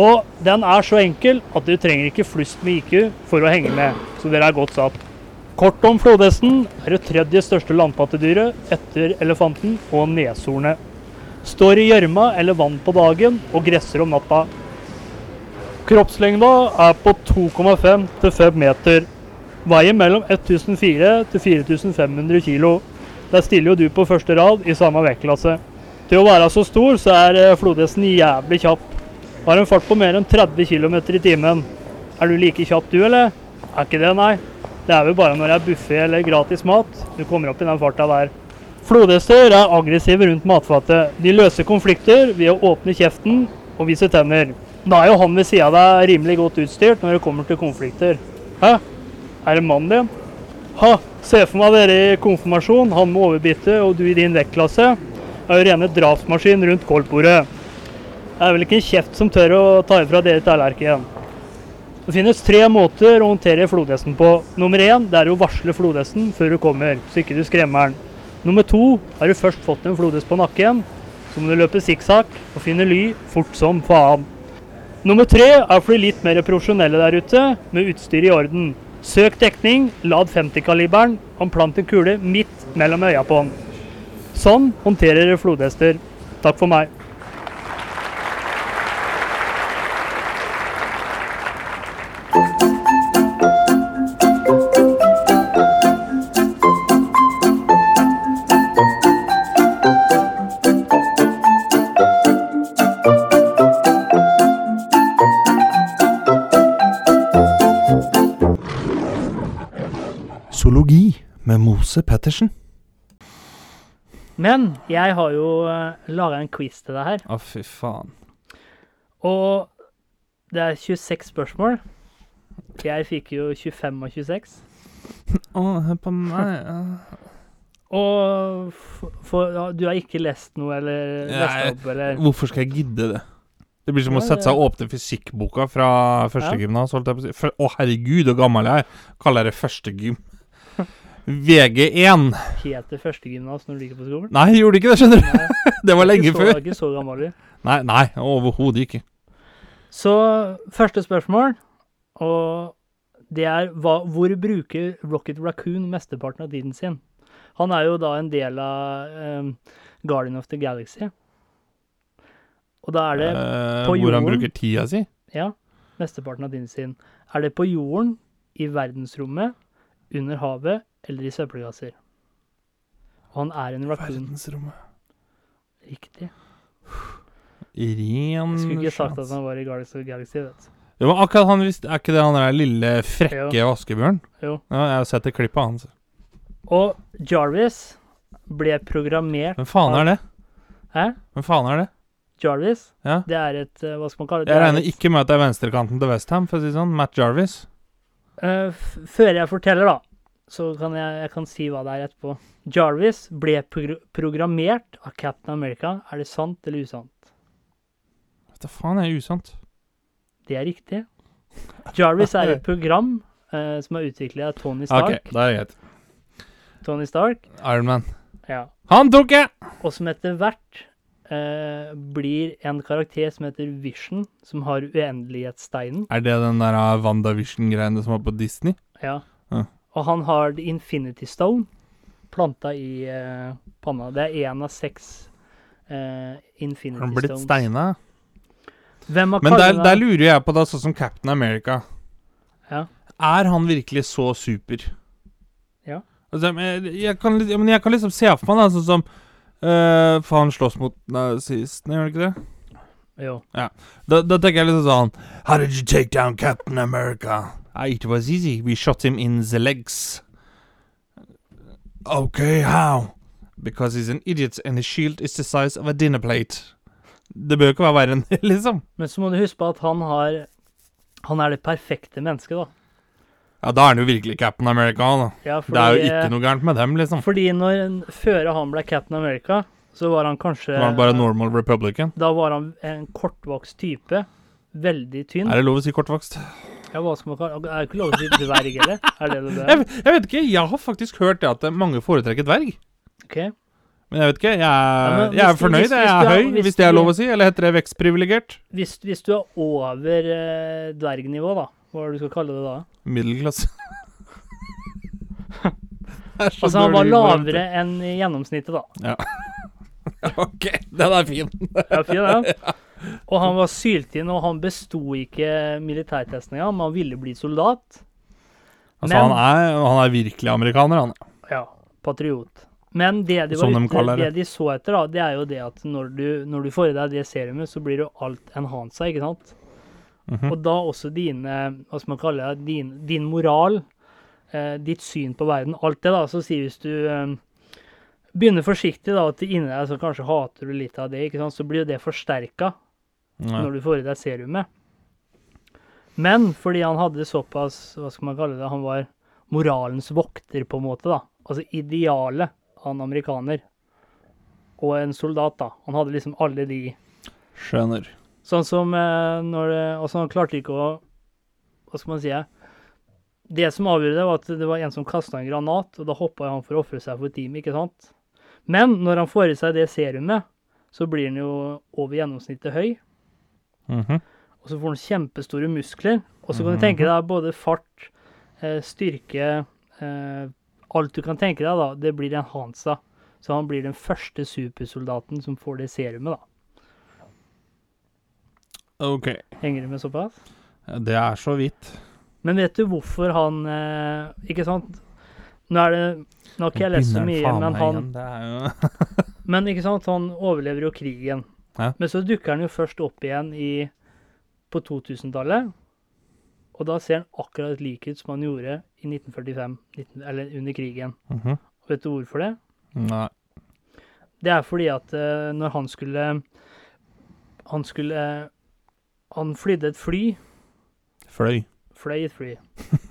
Speaker 2: Og den er så enkel at du trenger ikke flust med IQ for å henge med, så dere er godt satt. Kort om flodhesten er det tredje største landpattedyret etter elefanten og neshornet. Står i gjørma eller vann på dagen og gresser om natta. Kroppslengda er på 2,5 til 5 meter. Veier mellom 1004 til 4500 kilo. Der stiller jo du på første rad i samme vektklasse. Til å være så stor, så er eh, flodhesten jævlig kjapp. Har en fart på mer enn 30 km i timen. Er du like kjapp du, eller? Er ikke det, nei. Det er vel bare når det er buffé eller gratis mat du kommer opp i den farta der. Flodhester er aggressive rundt matfatet. De løser konflikter ved å åpne kjeften og vise tenner. Da er jo han ved sida av deg rimelig godt utstyrt når det kommer til konflikter. Hæ? Er det mannen din? Ha, se for meg dere i konfirmasjon, han med overbitte og du i din vektklasse. Er jo rene drapsmaskin rundt kålbordet. Det er vel ikke en kjeft som tør å ta ifra dere tallerkenen. Det finnes tre måter å håndtere flodhesten på. Nummer én det er å varsle flodhesten før du kommer, så ikke du skremmer den. Nummer to har du først fått en flodhest på nakken, så må du løpe sikksakk og finne ly fort som faen. Nummer tre er for de litt mer profesjonelle der ute, med utstyret i orden. Søk dekning, lad 50-kaliberen, og plant en kule midt mellom øya på han. Sånn håndterer dere flodhester. Takk for meg.
Speaker 1: Zoologi med Mose Pettersen.
Speaker 2: Men jeg har jo laga en quiz til deg her,
Speaker 1: Å, fy faen.
Speaker 2: og det er 26 spørsmål. Jeg fikk jo 25 av 26.
Speaker 1: Å, hør på meg. ja.
Speaker 2: Og f- for, ja, du har ikke lest noe, eller lest
Speaker 1: Nei.
Speaker 2: opp, eller
Speaker 1: Hvorfor skal jeg gidde det? Det blir som å
Speaker 2: Ja,
Speaker 1: sette
Speaker 2: det-
Speaker 1: seg og åpne fysikkboka fra førstegymnas. holdt jeg på å si. Fø- Å, herregud, så gammel jeg er. Kaller jeg det førstegym. VG1.
Speaker 2: helt til førstegymnas når du gikk på skolen?
Speaker 1: Nei, jeg gjorde ikke det, skjønner du.
Speaker 2: Nei,
Speaker 1: Det var lenge
Speaker 2: ikke så,
Speaker 1: før.
Speaker 2: Ikke så gammel, du.
Speaker 1: Nei, nei, overhodet ikke.
Speaker 2: Så første spørsmål, og det er hva, hvor bruker Rocket Raccoon mesteparten av tiden sin? Han er jo da en del av um, Guardian of the Galaxy. Og da er det
Speaker 1: Eh,
Speaker 2: på
Speaker 1: hvor han
Speaker 2: jorden?
Speaker 1: bruker tida si.
Speaker 2: Ja, mesteparten av din sin. Er det på jorden, i verdensrommet, under havet eller i søppelkasser? Og han er en raccoon.
Speaker 1: Verdensrommet.
Speaker 2: Riktig.
Speaker 1: Mm, Ren
Speaker 2: Jeg skulle ikke sagt
Speaker 1: sjans.
Speaker 2: at han var i Guardians of the Galaxy, vet du.
Speaker 1: Jo, men akkurat han visste, Er ikke det han der lille, frekke vaskebjørn?
Speaker 2: Jo.
Speaker 1: Ja, jeg har sett et klipp av han.
Speaker 2: Og Jarvis ble programmert
Speaker 1: Hvem faen er det?
Speaker 2: Hæ?
Speaker 1: Hvem faen er det?
Speaker 2: Jarvis,
Speaker 1: Ja.
Speaker 2: det er et eh, Hva skal man kalle det?
Speaker 1: Jeg
Speaker 2: Det er
Speaker 1: regner
Speaker 2: et-
Speaker 1: ikke med at det er venstrekanten til Westham, for å si det sånn. Matt Jarvis.
Speaker 2: Eh, f før jeg forteller, da, så kan jeg, jeg kan si hva det er etterpå. Jarvis ble progr programmert av Captain America. Er det sant eller usant?
Speaker 1: Vet du faen, det er usant.
Speaker 2: Det er riktig. Jarvis er et program eh, som er utviklet av Tony
Speaker 1: Ok,
Speaker 2: Stark.
Speaker 1: da er det greit.
Speaker 2: Tony Stark,
Speaker 1: Iron Man.
Speaker 2: ja.
Speaker 1: Han tok jeg!
Speaker 2: Og som etter hvert eh, blir en karakter som heter Vision, som har uendelighetssteinen.
Speaker 1: Er det den der ah, WandaVision-greiene som var på Disney?
Speaker 2: Ja.
Speaker 1: Ja.
Speaker 2: Og han har The Infinity Stone planta i eh, panna. Det er én av seks eh, Infinity
Speaker 1: Har han blitt
Speaker 2: Stones.
Speaker 1: steina?
Speaker 2: Hvem av
Speaker 1: Men der,
Speaker 2: karene-
Speaker 1: der lurer jeg på, da, sånn som Captain America.
Speaker 2: Ja.
Speaker 1: Er han virkelig så super?
Speaker 2: Ja.
Speaker 1: Altså, men jeg, jeg, kan, litt- men jeg kan liksom se for meg, da, sånn som eh, For han slåss mot nazistene, gjør han ikke det?
Speaker 2: Jo.
Speaker 1: Da, da tenker jeg liksom sånn How did you take down Captain America? Ah, It was easy. We shot him in the legs. Okay, how? Because he's an idiot, and his shield is the size of a dinner plate. Det bør jo ikke være verre enn det, liksom.
Speaker 2: Men så må du huske på at han har Han er det perfekte mennesket, da.
Speaker 1: Ja, da er han jo virkelig Captain America, da.
Speaker 2: Ja, eh,
Speaker 1: Det er jo ikke noe gærent med dem, liksom.
Speaker 2: Fordi når en, før han ble Captain America, så var han kanskje
Speaker 1: Det var bare normal republican.
Speaker 2: Da var han en kortvokst type. Veldig tynn.
Speaker 1: Er det lov å si kortvokst?
Speaker 2: Mm. Ja, hva skal man kalle Er det ikke lov å si dverg, eller? Er det det det?
Speaker 1: Jeg, jeg vet ikke, jeg har faktisk hørt det at eh, mange foretrekker dverg.
Speaker 2: er? Ok.
Speaker 1: Men jeg vet ikke, jeg,
Speaker 2: men
Speaker 1: er- jeg er
Speaker 2: hvis du- hvis-
Speaker 1: fornøyd, jeg er
Speaker 2: hvis du er-
Speaker 1: høy,
Speaker 2: hvis
Speaker 1: hvis det er
Speaker 2: du-
Speaker 1: lov å si. Eller heter det vekstprivilegert?
Speaker 2: Hvis, hvis du er over eh, dvergnivå, da, hva er det du skal kalle det da?
Speaker 1: Middelklasse. Det er så
Speaker 2: Altså, han var
Speaker 1: dårlig variant.
Speaker 2: lavere enn i gjennomsnittet, da.
Speaker 1: Ok, den er fin.
Speaker 2: Ja, fin, ja. Og han var syltynn, og han besto ikke militærtestinga, men han ville bli soldat.
Speaker 1: Altså, han er, han er virkelig amerikaner, han.
Speaker 2: Ja, patriot. Men det de,
Speaker 1: Som
Speaker 2: var
Speaker 1: de
Speaker 2: ute,
Speaker 1: kaller
Speaker 2: det
Speaker 1: det.
Speaker 2: de så etter, da, det er jo det at når du, når du får i deg det serumet, så blir jo alt enhansa, ikke sant?
Speaker 1: Mhm.
Speaker 2: Og da også dine Hva skal man kalle det? Din, din moral, eh, ditt syn på verden, alt det, da. Så si hvis du eh, begynner forsiktig, da, at inni deg så kanskje hater du litt av det, ikke sant, så blir jo det forsterka
Speaker 1: Ja.
Speaker 2: når du får i deg serumet. Men fordi han hadde såpass, hva skal man kalle det, han var moralens vokter, på en måte, da. Altså idealet av en amerikaner. Og en soldat, da. Han hadde liksom alle de
Speaker 1: Skjønner.
Speaker 2: Sånn som eh, når det Altså, han klarte ikke å Hva skal man si? eh, Det som avgjorde det, var at det var en som kasta en granat, og da hoppa han for å ofre seg for teamet, ikke sant? Men når han får i seg det serumet, så blir han jo over gjennomsnittet høy.
Speaker 1: Mhm.
Speaker 2: Og så får han kjempestore muskler. Og så kan du tenke deg både fart, eh, styrke eh, Alt du kan tenke deg, da. Det blir en Hansa. Så han blir den første supersoldaten som får det serumet, da.
Speaker 1: Ok.
Speaker 2: Henger det med såpass?
Speaker 1: Det er så vidt.
Speaker 2: Men vet du hvorfor han eh, Ikke sant? Nå er det Nå har ikke jeg lest så
Speaker 1: Begynner
Speaker 2: mye,
Speaker 1: faen
Speaker 2: men
Speaker 1: meg
Speaker 2: han
Speaker 1: igjen, Det er jo...
Speaker 2: Men ikke sant, han overlever jo krigen.
Speaker 1: Ja.
Speaker 2: Men så dukker han jo først opp igjen i, på 2000-tallet. Og da ser han akkurat lik ut som han gjorde i 1945, 19, eller under krigen.
Speaker 1: Mhm.
Speaker 2: Og vet du hvorfor det?
Speaker 1: Nei.
Speaker 2: Det er fordi at eh, når han skulle Han skulle Han flydde et fly.
Speaker 1: Fløy.
Speaker 2: Fløy et fly.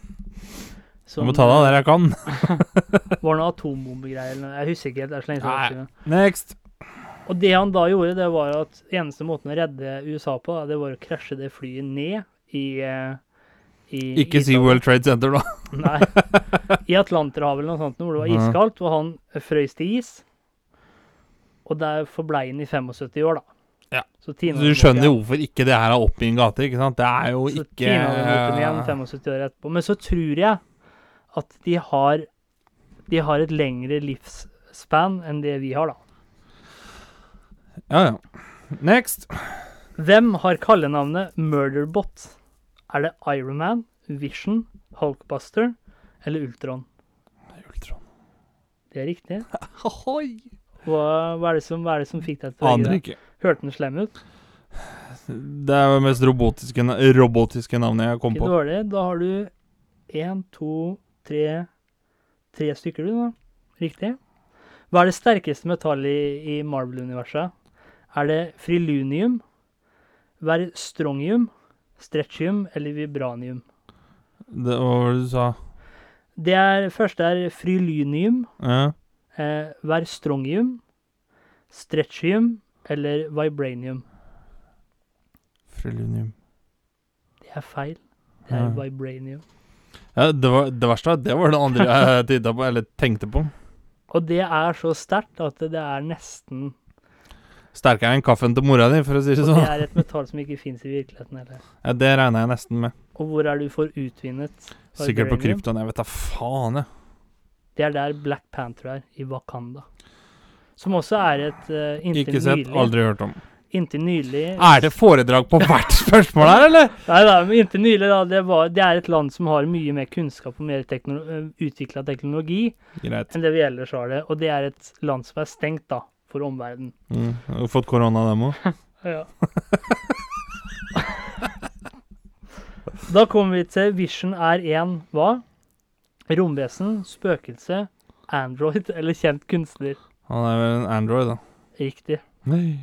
Speaker 1: Du må ta deg
Speaker 2: eh,
Speaker 1: der jeg kan.
Speaker 2: Var noe atombombegreier eller noe. Jeg husker ikke helt. Det er så lenge
Speaker 1: Nei.
Speaker 2: siden.
Speaker 1: Next.
Speaker 2: Og det han da gjorde, det var jo at eneste måten å redde USA på, da, det var å krasje det flyet ned i, eh, i
Speaker 1: Ikke si
Speaker 2: ishavet.
Speaker 1: World Trade Center, da.
Speaker 2: Nei. I Atlanterhavet eller noe sånt, hvor det var
Speaker 1: Ja.
Speaker 2: iskaldt, og han frøys til is. Og der forblei han i 75 år, da.
Speaker 1: Ja.
Speaker 2: Så tina
Speaker 1: Du skjønner jo hvorfor ikke det her er opp i en gate, ikke sant? Det er jo
Speaker 2: Så
Speaker 1: ikke
Speaker 2: tina han opp igjen 75 år etterpå. Men så tror jeg at de har de har et lengre livsspann enn det vi har, da.
Speaker 1: Ja, ja. Next.
Speaker 2: Hvem har kallenavnet Murderbot? Er det Ironman, Vision, Hulkbuster eller Ultron?
Speaker 1: Ultron.
Speaker 2: Det er riktig. Hva, hva, er, det som, hva er det som fikk deg til å velge
Speaker 1: Aner
Speaker 2: det?
Speaker 1: ikke.
Speaker 2: Hørte den slem ut?
Speaker 1: Det er det mest robotiske, na- robotiske navnet jeg kom
Speaker 2: Ikke
Speaker 1: på.
Speaker 2: dårlig. Da har du én, to, tre Tre stykker, du, da. Riktig. Hva er det sterkeste metallet i, i Marvel-universet? Er det frilunium, verstrongium, stretchium eller vibranium?
Speaker 1: Det var hva du sa.
Speaker 2: Det er, første er frilunium,
Speaker 1: Ja.
Speaker 2: eh, verstrongium, stretchium eller vibranium.
Speaker 1: Frelunium.
Speaker 2: Det er feil. Det er
Speaker 1: Ja.
Speaker 2: vibranium.
Speaker 1: Ja, det, var, det verste var at det var det andre jeg tittet på, eller tenkte på.
Speaker 2: Og det er så sterkt at det er nesten
Speaker 1: Sterkere enn kaffen til mora di, for å si det
Speaker 2: Og det
Speaker 1: sånn.
Speaker 2: er et metall som ikke fins i virkeligheten heller.
Speaker 1: Ja, det regner jeg nesten med.
Speaker 2: Og hvor er du for utvinnet?
Speaker 1: Sikkert på
Speaker 2: Vibranium?
Speaker 1: krypton. Jeg vet da faen, jeg.
Speaker 2: Det er der Black Panther er, i Wakanda. Som også er et eh, inntil,
Speaker 1: Ikke sett,
Speaker 2: nylig,
Speaker 1: aldri hørt om.
Speaker 2: inntil nylig
Speaker 1: Er det foredrag på hvert spørsmål her, eller?
Speaker 2: Nei da, men inntil nylig, da. Det, var, det er et land som har mye mer kunnskap og mer teknolo utvikla teknologi
Speaker 1: Greit.
Speaker 2: enn det vi ellers har det. Og det er et land som er stengt, da, for omverdenen.
Speaker 1: Mm. Har du fått korona, dem òg?
Speaker 2: Ja. da kommer vi til Vision er én hva? Romvesen, spøkelse, Android eller kjent kunstner.
Speaker 1: Han er vel en Android, da.
Speaker 2: Riktig.
Speaker 1: Nei.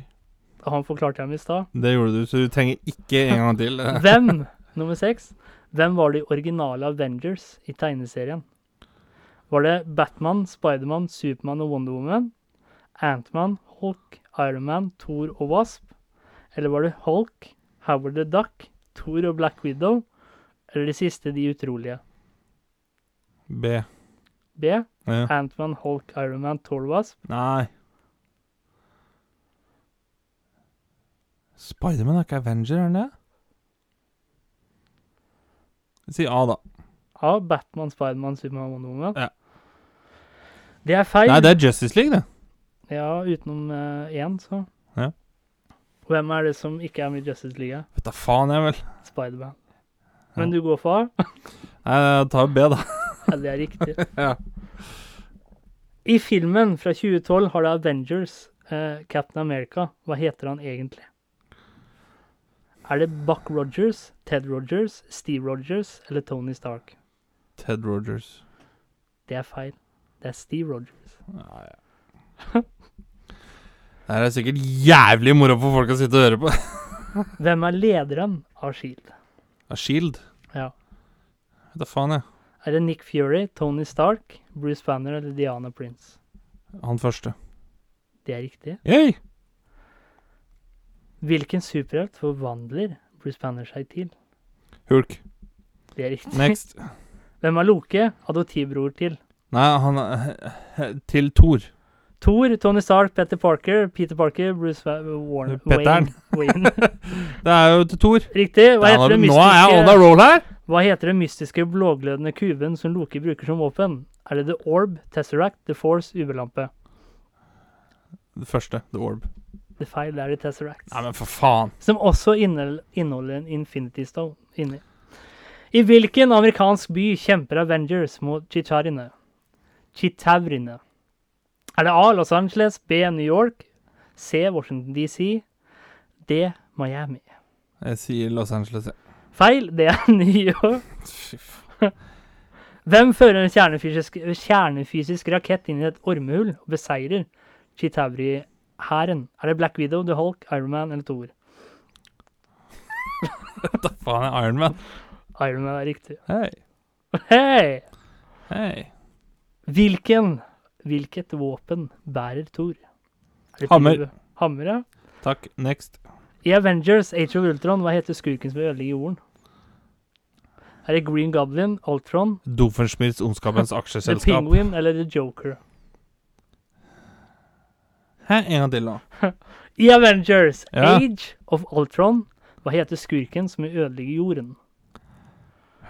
Speaker 2: Han forklarte jeg ham i stad.
Speaker 1: Det gjorde du, så du trenger ikke en gang til. eh.
Speaker 2: Hvem, nummer seks, hvem var de originale Avengers i tegneserien? Var det Batman, Spiderman, Supermann og Wonder Woman? Antman, Hulk, Ironman, Thor og Wasp? Eller var det Hulk, Howard the Duck, Thor og Black Widow? Eller det siste, De utrolige?
Speaker 1: B.
Speaker 2: B.
Speaker 1: Ja.
Speaker 2: Antman, Hulk, Ironman, Thor og Wasp?
Speaker 1: Nei. Spiderman er ikke Avenger, er han det? Si A, da.
Speaker 2: A. Batman, Spiderman, Supermann og Wonder Woman?
Speaker 1: Ja.
Speaker 2: Det er feil.
Speaker 1: Nei, det er Justice League, det.
Speaker 2: Ja, utenom eh, én, så.
Speaker 1: Ja.
Speaker 2: Hvem er det som ikke er med i Justice League?
Speaker 1: Vet da faen, jeg, vel.
Speaker 2: Spiderman.
Speaker 1: Ja.
Speaker 2: Men du går for A?
Speaker 1: Nei, jeg tar B, da.
Speaker 2: Ja, det er riktig.
Speaker 1: Ja.
Speaker 2: I filmen fra 2012 har det Avengers, eh, Captain America. Hva heter han egentlig? Er det Buck Rogers, Ted Rogers, Steve Rogers eller Tony Stark?
Speaker 1: Ted Rogers.
Speaker 2: Det er feil. Det er Steve Rogers.
Speaker 1: Nei, ja. Det her er sikkert jævlig moro for folk å sitte og høre på.
Speaker 2: Hvem er lederen av Shield?
Speaker 1: Ja, Shield.
Speaker 2: Ja.
Speaker 1: Vet da faen, jeg.
Speaker 2: Er det Nick Fury, Tony Stark, Bruce Banner eller Diana Prince?
Speaker 1: Han første.
Speaker 2: Det er riktig.
Speaker 1: Hey!
Speaker 2: Hvilken superhelt forvandler Bruce Banner seg til?
Speaker 1: Hulk.
Speaker 2: Det er riktig.
Speaker 1: Next.
Speaker 2: Hvem er Loke? Adoptivbror til?
Speaker 1: Nei, han er Til Thor.
Speaker 2: Thor, Tony Stark, Petter Parker, Peter Parker, Bruce Wa- Warren
Speaker 1: Petteren.
Speaker 2: Wayne. Wayne.
Speaker 1: Det er jo til Thor.
Speaker 2: Riktig. Hva
Speaker 1: Nei,
Speaker 2: heter, det
Speaker 1: nå er jeg on a
Speaker 2: mystiske,
Speaker 1: roll her!
Speaker 2: hva heter den mystiske blåglødende kuben som Loke bruker som våpen? Er det The Orb, Tesseract, The Force, UV-lampe?
Speaker 1: Det første. The Orb.
Speaker 2: Det er feil, det er The Tesseract.
Speaker 1: Nei, men for faen.
Speaker 2: Som også inne- inneholder en Infinity Stone inni. I hvilken amerikansk by kjemper Avengers mot Chicharine? Chitaurine. Er det A. Los Angeles, B. New York, C. Washington DC, D. Miami?
Speaker 1: Jeg sier Los Angeles, jeg.
Speaker 2: Feil, det er New York.
Speaker 1: Fy faen.
Speaker 2: Hvem fører en kjernefysisk, kjernefysisk rakett inn i et ormehull og beseirer Chitauri-hæren? Er det Black Widow, The Hulk, Iron Man eller Thor?
Speaker 1: Da faen jeg er Iron Man.
Speaker 2: Iron Man er riktig.
Speaker 1: Hei,
Speaker 2: Hei!
Speaker 1: hei.
Speaker 2: Hvilken, hvilket våpen bærer Thor? Er det
Speaker 1: Hammer.
Speaker 2: pil- Hammer, ja.
Speaker 1: Takk. Next.
Speaker 2: I Avengers Age of Ultron, hva heter skurken som vil ødelegge jorden? Er det Green Goblin, Ultron,
Speaker 1: Doofenshmirtz Ondskapens
Speaker 2: The
Speaker 1: aksjeselskap.
Speaker 2: Penguin eller The Joker?
Speaker 1: Hæ, en gang til, da.
Speaker 2: I Avengers
Speaker 1: Ja.
Speaker 2: Age of Ultron, hva heter skurken som vil ødelegge jorden?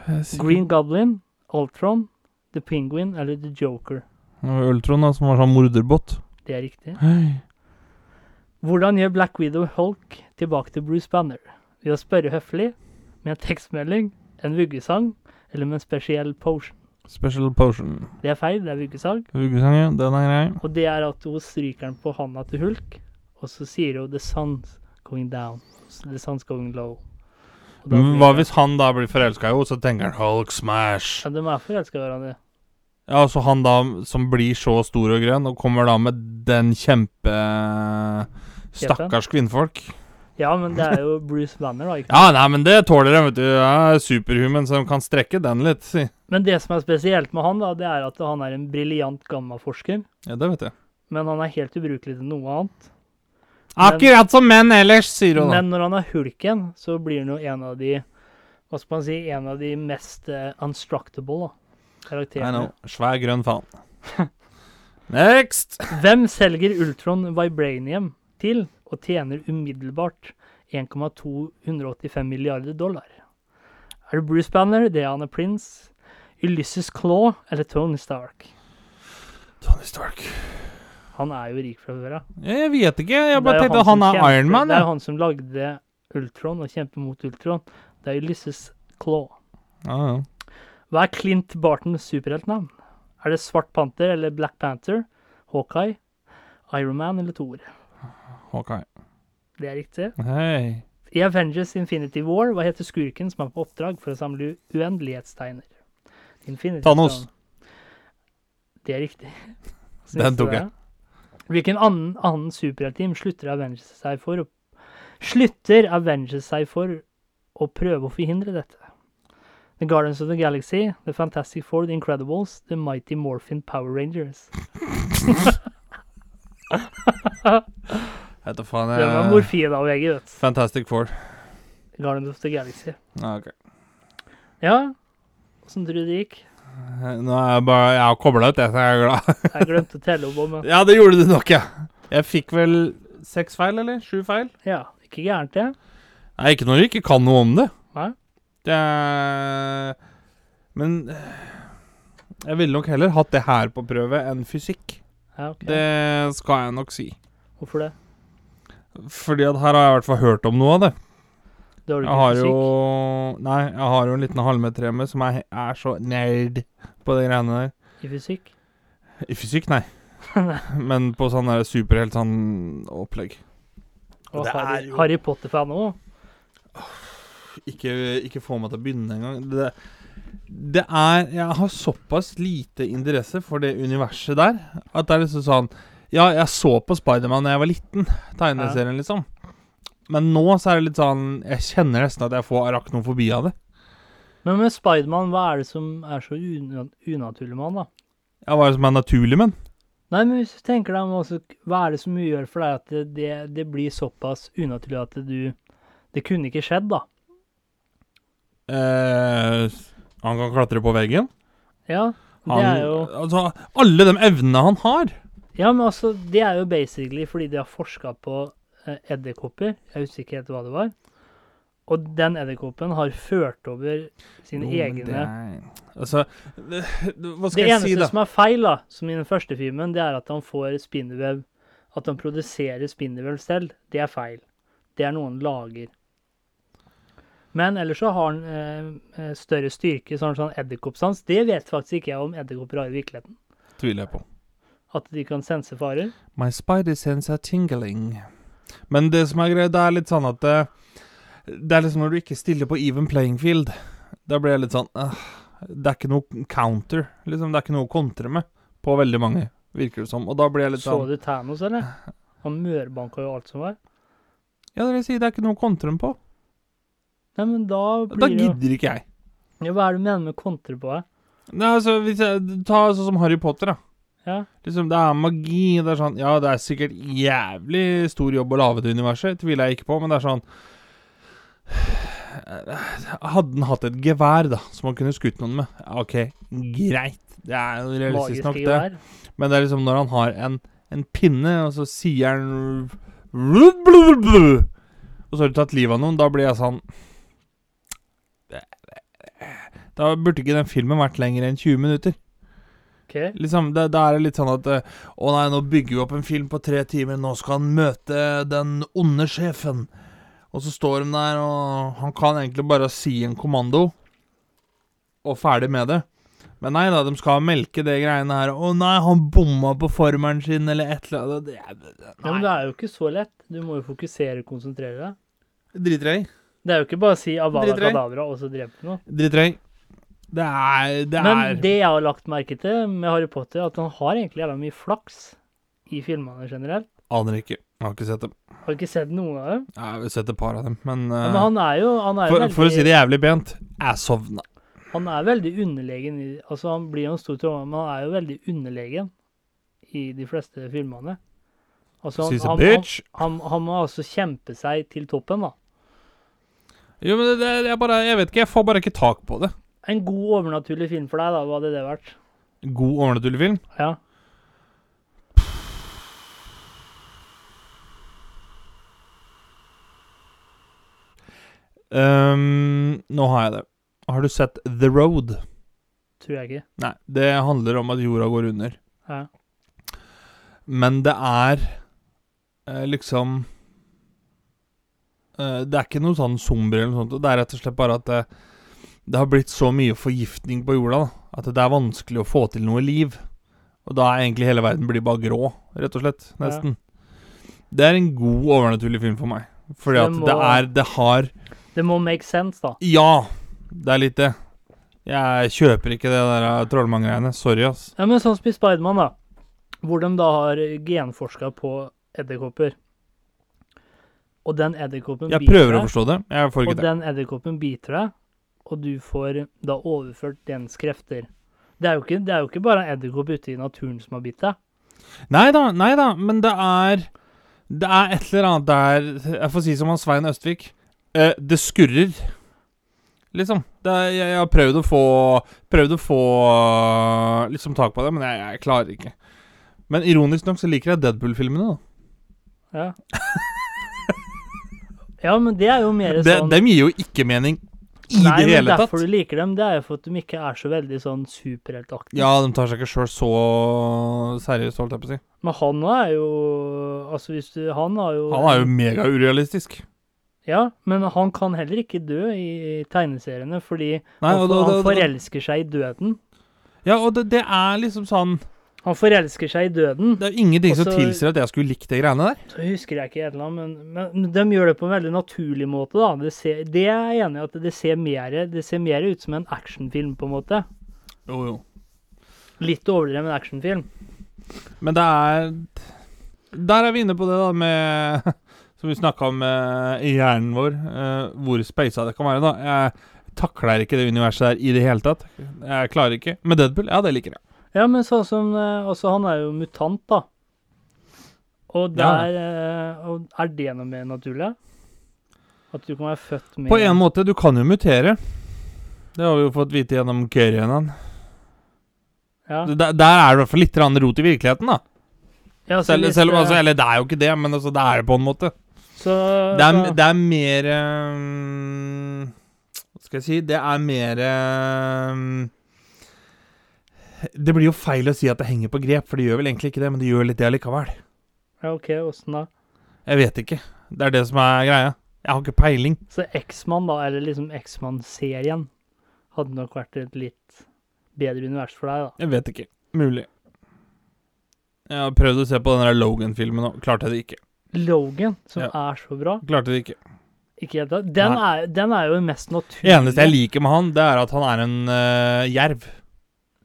Speaker 1: Jeg sier-
Speaker 2: Green Goblin, Ultron, The Penguin eller The Joker?
Speaker 1: Det var Ultron, da, som var sånn morderbåt.
Speaker 2: Det er riktig.
Speaker 1: Hei.
Speaker 2: Hvordan gjør Black Widow Hulk tilbake til Bruce Banner? Ved å spørre høflig, med en tekstmelding, en vuggesang eller med en spesiell potion?
Speaker 1: Special potion.
Speaker 2: Det er feil, det er vuggesang.
Speaker 1: Vuggesang, ja. Den er grei.
Speaker 2: Og det er at hun stryker den på handa til Hulk, og så sier hun 'the sun's going down'. The sun's going low. Og da
Speaker 1: Men
Speaker 2: blir
Speaker 1: Hva
Speaker 2: det-
Speaker 1: hvis han da blir forelska i henne, så tenker han Hulk smash?
Speaker 2: Ja, de er forelska i hverandre.
Speaker 1: Ja, altså han da som blir så stor og grønn, og kommer da med den kjempe Stakkars kvinnfolk.
Speaker 2: Ja, men det er jo Bruce Banner, da. Ikke?
Speaker 1: Ja, nei, men det tåler de, vet du. Jeg er superhuman, så de kan strekke den litt, si.
Speaker 2: Men det som er spesielt med han, da, det er at han er en briljant gammaforsker.
Speaker 1: Ja, det vet jeg.
Speaker 2: Men han er helt ubrukelig til noe annet.
Speaker 1: Akkurat som menn ellers, sier hun da.
Speaker 2: Men når han er hulken, så blir han jo en av de Hva skal man si En av de mest eh, unstructable da,
Speaker 1: I know.
Speaker 2: karakterene.
Speaker 1: Svær grønn faen. Next!
Speaker 2: Hvem selger Ultron Vibranium til og tjener umiddelbart 1,285 milliarder dollar? Er det Bruce Banner, Diana Prince, Ulysses Claw eller Tony Stark?
Speaker 1: Tony Stark.
Speaker 2: Han er jo rik fra før av.
Speaker 1: Jeg, jeg vet ikke. Jeg
Speaker 2: Det
Speaker 1: bare
Speaker 2: jo
Speaker 1: tenkte han
Speaker 2: som
Speaker 1: er
Speaker 2: kjemper-
Speaker 1: Iron Man.
Speaker 2: Det er
Speaker 1: Ja.
Speaker 2: han som lagde Ultron og kjemper mot Ultron. Det er Ulysses Claw.
Speaker 1: Ja, ja.
Speaker 2: Hva er Clint Bartons superheltnavn? Er det Svart Panther eller Black Panther? Hawkeye? Iron Man eller Thor?
Speaker 1: Hawkeye.
Speaker 2: Det er riktig.
Speaker 1: Hei.
Speaker 2: I Avengers Infinity War, hva heter skurken som er på oppdrag for å samle u- uendelighetstegner? Infinity
Speaker 1: Thanos.
Speaker 2: Stone. Det er riktig. Syns
Speaker 1: Den
Speaker 2: du
Speaker 1: tok jeg.
Speaker 2: det? Hvilken annen, annen superheltteam slutter Avengers seg for å Slutter Avengers seg for å prøve å forhindre dette? The Guardians of the Galaxy, The Fantastic Four, The Incredibles, The Mighty Morphin Power Rangers.
Speaker 1: Vet da faen
Speaker 2: Det var
Speaker 1: jeg
Speaker 2: morfinavhengig, vet du.
Speaker 1: Fantastic Four.
Speaker 2: Guardians of the Galaxy.
Speaker 1: Ja, ok.
Speaker 2: Ja, åssen tror du det gikk?
Speaker 1: Nå er jeg bare Jeg har kobla ut, jeg, så jeg er glad.
Speaker 2: Jeg glemte å telle opp, men
Speaker 1: Ja, det gjorde du nok, ja. Jeg fikk vel seks feil, eller? Sju feil?
Speaker 2: ja, ikke gærent det.
Speaker 1: Nei, ikke når du ikke kan noe om det.
Speaker 2: Nei.
Speaker 1: Det er Men eh, jeg ville nok heller hatt det her på prøve enn fysikk.
Speaker 2: Ja, ok.
Speaker 1: Det skal jeg nok si.
Speaker 2: Hvorfor det?
Speaker 1: Fordi at her har jeg i hvert fall hørt om noe av det.
Speaker 2: Det har
Speaker 1: Jeg
Speaker 2: du ikke
Speaker 1: har
Speaker 2: fysikk.
Speaker 1: jo Nei, jeg har jo en liten halvmeter hjemme som er, er så nerd på de greiene der.
Speaker 2: I fysikk?
Speaker 1: I fysikk, nei. Men på sånn der superhelt sånn opplegg.
Speaker 2: Og
Speaker 1: Det er
Speaker 2: Harry,
Speaker 1: jo-
Speaker 2: Harry Potter-fan òg.
Speaker 1: Ikke, ikke få meg til å begynne engang. Det, det er Jeg har såpass lite interesse for det universet der at det er liksom sånn Ja, jeg så på Spiderman da jeg var liten, tegneserien, liksom. Men nå så er det litt sånn Jeg kjenner nesten at jeg får arachnofobi av det.
Speaker 2: Men med Spiderman, hva er det som er så una- unaturlig med han, da?
Speaker 1: Jeg var jo som en naturlig menn.
Speaker 2: Nei, men hvis du tenker deg om også, hva er det som gjør for deg at det, det, det blir såpass unaturlig at du Det kunne ikke skjedd, da.
Speaker 1: Eh, han kan klatre på veggen.
Speaker 2: Ja,
Speaker 1: Han,
Speaker 2: det er jo
Speaker 1: altså, alle de evnene han har.
Speaker 2: Ja, men altså, det er jo basically fordi de har forska på eh, edderkopper. Jeg husker ikke helt hva det var. Og den edderkoppen har ført over sine
Speaker 1: Jo, men
Speaker 2: egne
Speaker 1: det er- Altså, det, det, hva
Speaker 2: Det
Speaker 1: skal jeg
Speaker 2: eneste
Speaker 1: si, da?
Speaker 2: som er feil, da, som i den første filmen, det er at han får spindelvev. At han produserer spindelvev selv. Det er feil. Det er noe han lager. Men ellers så har han eh, eh, større styrke, sånn sånn edderkoppsans. Det vet faktisk ikke jeg om edderkopper har i virkeligheten.
Speaker 1: Tviler jeg på.
Speaker 2: At de kan sense farer.
Speaker 1: My spider sense are tingling. Men det som er greit, det er litt sånn at det, det er liksom når du ikke stiller på even playing field, da blir jeg litt sånn «Ah, Det er ikke noe counter, liksom. Det er ikke noe å kontre med på veldig mange, virker det som. Og da blir jeg litt
Speaker 2: Så
Speaker 1: sånn
Speaker 2: du Thanos, eller? Han mørbanka jo alt som var.
Speaker 1: sånn, Ja, det vil si, det er ikke noe å kontre med på.
Speaker 2: Nei, men da
Speaker 1: Da
Speaker 2: blir det jo
Speaker 1: gidder ikke jeg.
Speaker 2: ja, Hva er det du mener med kontre på her?
Speaker 1: Nei, altså, hvis jeg, Ta sånn som Harry Potter, da.
Speaker 2: Ja.
Speaker 1: Liksom, det er magi. Det er sånn Ja, det er sikkert jævlig stor jobb å lage det universet, tviler jeg ikke på, men det er sånn Hadde han hatt et gevær, da, som han kunne skutt noen med Ja, OK, greit. Det er jo realistisk
Speaker 2: Magiske
Speaker 1: nok, det.
Speaker 2: gevær.
Speaker 1: Men det er liksom når han har en, en pinne, og så sier han «Blub, blub, blub», Og så har du tatt livet av noen, da blir jeg sånn Da burde ikke den filmen vært lenger enn 20 minutter.
Speaker 2: OK?
Speaker 1: Liksom, det, det er litt sånn at eh, Å nei, nå bygger vi opp en film på tre timer, nå skal han møte den onde sjefen. Og så står de der, og han kan egentlig bare si en kommando, og ferdig med det. Men nei da, de skal melke det greiene her. Å nei, han bomma på formelen sin, eller et eller annet. Det, er- det,
Speaker 2: Ja, men det
Speaker 1: nei.
Speaker 2: er jo ikke så lett. Du må jo fokusere og konsentrere deg.
Speaker 1: Driter jeg i.
Speaker 2: Det er jo ikke bare å si 'Avada
Speaker 1: Driter i.
Speaker 2: Kadavra' og så drepe noe.
Speaker 1: Driter jeg i. Det er Det
Speaker 2: Men
Speaker 1: er
Speaker 2: det jeg har lagt merke til med Harry Potter, at han har egentlig jævla mye flaks i filmene generelt.
Speaker 1: Aner ikke. Jeg har ikke sett dem.
Speaker 2: Har ikke sett noen av dem.
Speaker 1: Jeg har sett et par av dem, men,
Speaker 2: Ja,
Speaker 1: eh,
Speaker 2: Men han er jo han er
Speaker 1: for,
Speaker 2: veldig,
Speaker 1: for å si det jævlig pent, jeg sovna.
Speaker 2: Han er veldig underlegen i Altså, han blir jo en stor tromme, men han er jo veldig underlegen i de fleste filmene. Altså, han,
Speaker 1: She's a
Speaker 2: han, han,
Speaker 1: bitch.
Speaker 2: han, han må altså kjempe seg til toppen, da.
Speaker 1: Jo, men det, det, jeg bare Jeg vet ikke, jeg får bare ikke tak på det.
Speaker 2: En god overnaturlig film for deg, da, hva hadde det vært?
Speaker 1: God overnaturlig film.
Speaker 2: Ja.
Speaker 1: Ehm, nå har jeg det. Har du sett The Road?
Speaker 2: Tror jeg ikke.
Speaker 1: Nei, det handler om at jorda går under.
Speaker 2: Ja.
Speaker 1: Men det er eh, liksom eh, Det er ikke noe sånn zombie eller noe sånt. Det er rett og slett bare at det, det har blitt så mye forgiftning på jorda da, at det er vanskelig å få til noe liv. Og da er egentlig hele verden blir bare grå, rett og slett.
Speaker 2: Ja.
Speaker 1: Nesten. Det er en god overnaturlig film for meg. Fordi
Speaker 2: Så
Speaker 1: at
Speaker 2: det
Speaker 1: det
Speaker 2: må-
Speaker 1: er Det har
Speaker 2: Det må make sense, da.
Speaker 1: Ja! Det er litt det. Jeg kjøper ikke det der eh, trollmann-greiene. Sorry, ass.
Speaker 2: Ja, men sånn som i Spiderman, da. Hvor de da har genforska på edderkopper. Og den edderkoppen
Speaker 1: Jeg prøver å forstå det. Jeg får
Speaker 2: og
Speaker 1: ikke det.
Speaker 2: den edderkoppen biter deg, og du får da overført dens krefter. Det er jo ikke, det er jo ikke bare en edderkopp ute i naturen som har bitt deg.
Speaker 1: Nei da, nei da, men det er Det er et eller annet der Jeg får si som han Svein Østvik. Eh, det skurrer. Liksom. Det er, jeg, jeg har prøvd å få Prøvd å få eh, liksom tak på det, men jeg, jeg klarer ikke. Men ironisk nok så liker jeg Deadpool-filmene, da.
Speaker 2: Ja. ja, men det er jo mer
Speaker 1: De,
Speaker 2: sånn
Speaker 1: dem gir jo ikke mening i
Speaker 2: Nei,
Speaker 1: det
Speaker 2: men
Speaker 1: hele tatt.
Speaker 2: derfor du liker dem, det er jo for at de ikke er så veldig sånn superheltaktige.
Speaker 1: Ja, de tar seg ikke sjøl så seriøst, holdt jeg på å si.
Speaker 2: Men han er jo Altså, hvis du Han har jo
Speaker 1: Han er jo megaurealistisk.
Speaker 2: Ja, men han kan heller ikke dø i tegneseriene, fordi
Speaker 1: Nei,
Speaker 2: han,
Speaker 1: og det-
Speaker 2: han
Speaker 1: det- det-
Speaker 2: forelsker seg i døden.
Speaker 1: Ja, og det, det er liksom sånn
Speaker 2: Han forelsker seg i døden.
Speaker 1: Det er ingenting som
Speaker 2: Også-
Speaker 1: tilsier at jeg skulle likt de greiene der.
Speaker 2: Så husker jeg ikke et eller annet, men, men de gjør det på en veldig naturlig måte, da. Det, ser, det er jeg enig i, at det ser, mer, det ser mer ut som en actionfilm, på en måte.
Speaker 1: Jo, jo.
Speaker 2: Litt overdreven actionfilm.
Speaker 1: Men det er Der er vi inne på det da med Som vi snakka om eh, i hjernen vår, eh, hvor speisa det kan være. da Jeg takler ikke det universet der i det hele tatt. Jeg klarer ikke. Med Deadpool, ja, det liker jeg.
Speaker 2: Ja, men sånn som eh, Også, han er jo mutant, da.
Speaker 1: Ja.
Speaker 2: Og der eh, og Er det noe mer naturlig? At du kan være født med
Speaker 1: På en måte, du kan jo mutere. Det har vi jo fått vite gjennom Kørjenan.
Speaker 2: Ja,
Speaker 1: Der, der er det i hvert fall litt grann rot i virkeligheten, da.
Speaker 2: ja så
Speaker 1: Selv,
Speaker 2: hvis,
Speaker 1: selv om altså,
Speaker 2: eh,
Speaker 1: Eller det er jo ikke det, men altså, det er det på en måte.
Speaker 2: så,
Speaker 1: Det er,
Speaker 2: så-
Speaker 1: det er mer eh, Hva skal jeg si Det er mer eh, Det blir jo feil å si at det henger på grep, for det gjør vel egentlig ikke det, men det gjør litt det allikevel.
Speaker 2: Ja, OK, åssen da?
Speaker 1: Jeg vet ikke. Det er det som er greia. Jeg har ikke peiling.
Speaker 2: Så X-Man, da, eller liksom X-Man-serien, hadde nok vært et litt bedre univers for deg, da.
Speaker 1: Jeg vet ikke. Mulig. Jeg har prøvd å se på den der Logan-filmen, og klarte det ikke.
Speaker 2: Logan, som
Speaker 1: Ja.
Speaker 2: er så bra
Speaker 1: Klarte det ikke.
Speaker 2: ikke helt, da. den, er, den er jo den mest naturlige
Speaker 1: Eneste jeg liker med han, det er at han er en eh, jerv.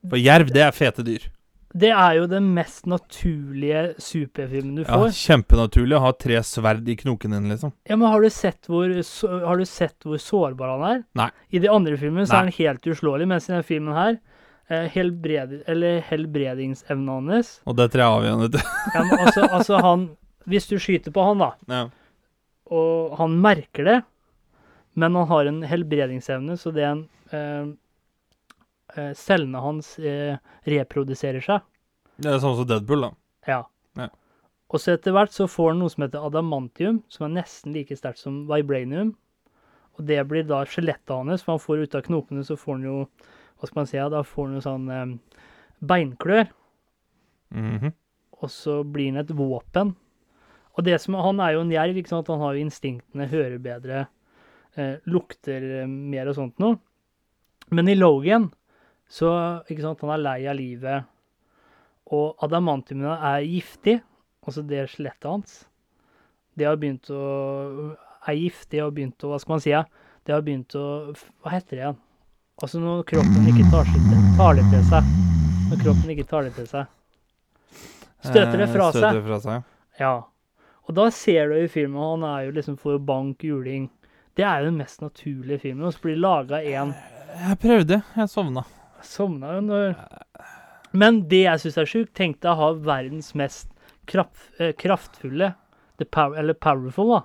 Speaker 1: For jerv, det er fete dyr.
Speaker 2: Det er jo den mest naturlige superfilmen du
Speaker 1: Ja,
Speaker 2: får.
Speaker 1: kjempenaturlig å ha tre sverd i knoken din, liksom.
Speaker 2: Ja, men har du sett hvor, så, har du sett hvor sårbar han er?
Speaker 1: Nei.
Speaker 2: I de andre filmene så
Speaker 1: Nei.
Speaker 2: er han helt uslåelig, mens i denne filmen her eh, helbred, eller helbredingsevnen hans
Speaker 1: Og det er tre avgjørende.
Speaker 2: ja, men altså, altså, han Hvis du skyter på han, da,
Speaker 1: Ja.
Speaker 2: og han merker det, men han har en helbredingsevne, så det er en eh, eh, Cellene hans eh, reproduserer seg.
Speaker 1: Det er sånn som Deadpool, da.
Speaker 2: Ja.
Speaker 1: Ja.
Speaker 2: Og så etter hvert så får han noe som heter adamantium, som er nesten like sterkt som vibranium. Og det blir da skjelettet hans, for han får ut av knopene, så får han jo Hva skal man si, ja, da får han jo sånn eh, beinklør,
Speaker 1: Mhm.
Speaker 2: og så blir han et våpen. Og det som, han er jo en jerv, ikke sant? han har jo instinktene, hører bedre, eh, lukter eh, mer og sånt noe. Men i Logan, så, ikke sant, han er lei av livet, og adamantiumene er giftig, altså det skjelettet hans. Det har begynt å, er giftig og begynt å, hva skal man si, ja? det har begynt å, hva heter det igjen? Altså når kroppen ikke tar, sitt- tar det til seg, når kroppen ikke tar det til seg. Støter det
Speaker 1: Eh,
Speaker 2: fra seg.
Speaker 1: Støter det fra seg.
Speaker 2: Ja. Og da ser du i filmen, han er jo liksom for bank, juling. Det er jo den mest naturlige filmen. Og så blir det laga en
Speaker 1: Jeg prøvde. Jeg sovna.
Speaker 2: Sovna jo når Men det jeg syns er sjukt, tenk deg å ha verdens mest kraft, eh, kraftfulle the power, Eller powerful, da.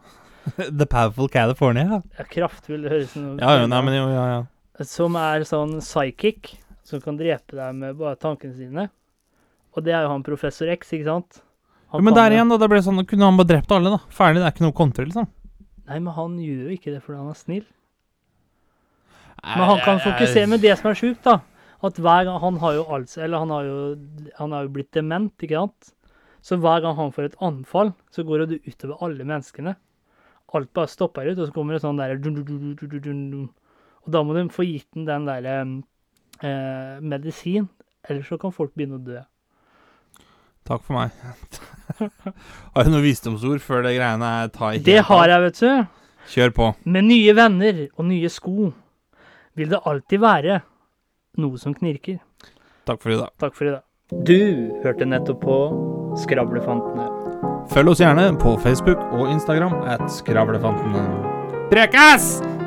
Speaker 1: The Powerful California. Ja,
Speaker 2: Ja, kraftfull, det høres ut
Speaker 1: ja, jo, nei, men jo, ja, ja.
Speaker 2: Som er sånn psychic, som kan drepe deg med bare tankene sine. Og det er jo han professor X, ikke sant? Han
Speaker 1: Jo, men
Speaker 2: kan
Speaker 1: der
Speaker 2: jo-
Speaker 1: igjen, da. Det ble sånn, kunne han bare drept alle, da? Ferdig, det er ikke noe å kontre, liksom.
Speaker 2: Nei, men han gjør jo ikke det fordi han er snill. Men han kan fokusere med det som er sjukt, da. At hver gang Han har jo altså, eller han har jo, han har jo blitt dement, ikke sant? Så hver gang han får et anfall, så går det utover alle menneskene. Alt bare stopper ut, og så kommer det sånn derre dun, dun, dun, dun, dun, dun, dun. Og da må de få gitt den den derre eh, medisin, ellers så kan folk begynne å dø.
Speaker 1: Takk for meg. har du noen visdomsord før det greiene er ta i
Speaker 2: Det har jeg, vet du.
Speaker 1: Kjør på.
Speaker 2: Med nye venner og nye sko vil det alltid være noe som knirker.
Speaker 1: Takk for i dag.
Speaker 2: Takk for i dag. Du hørte nettopp på Skravlefantene.
Speaker 1: Følg oss gjerne på Facebook og Instagram at Skravlefantene. Prekas!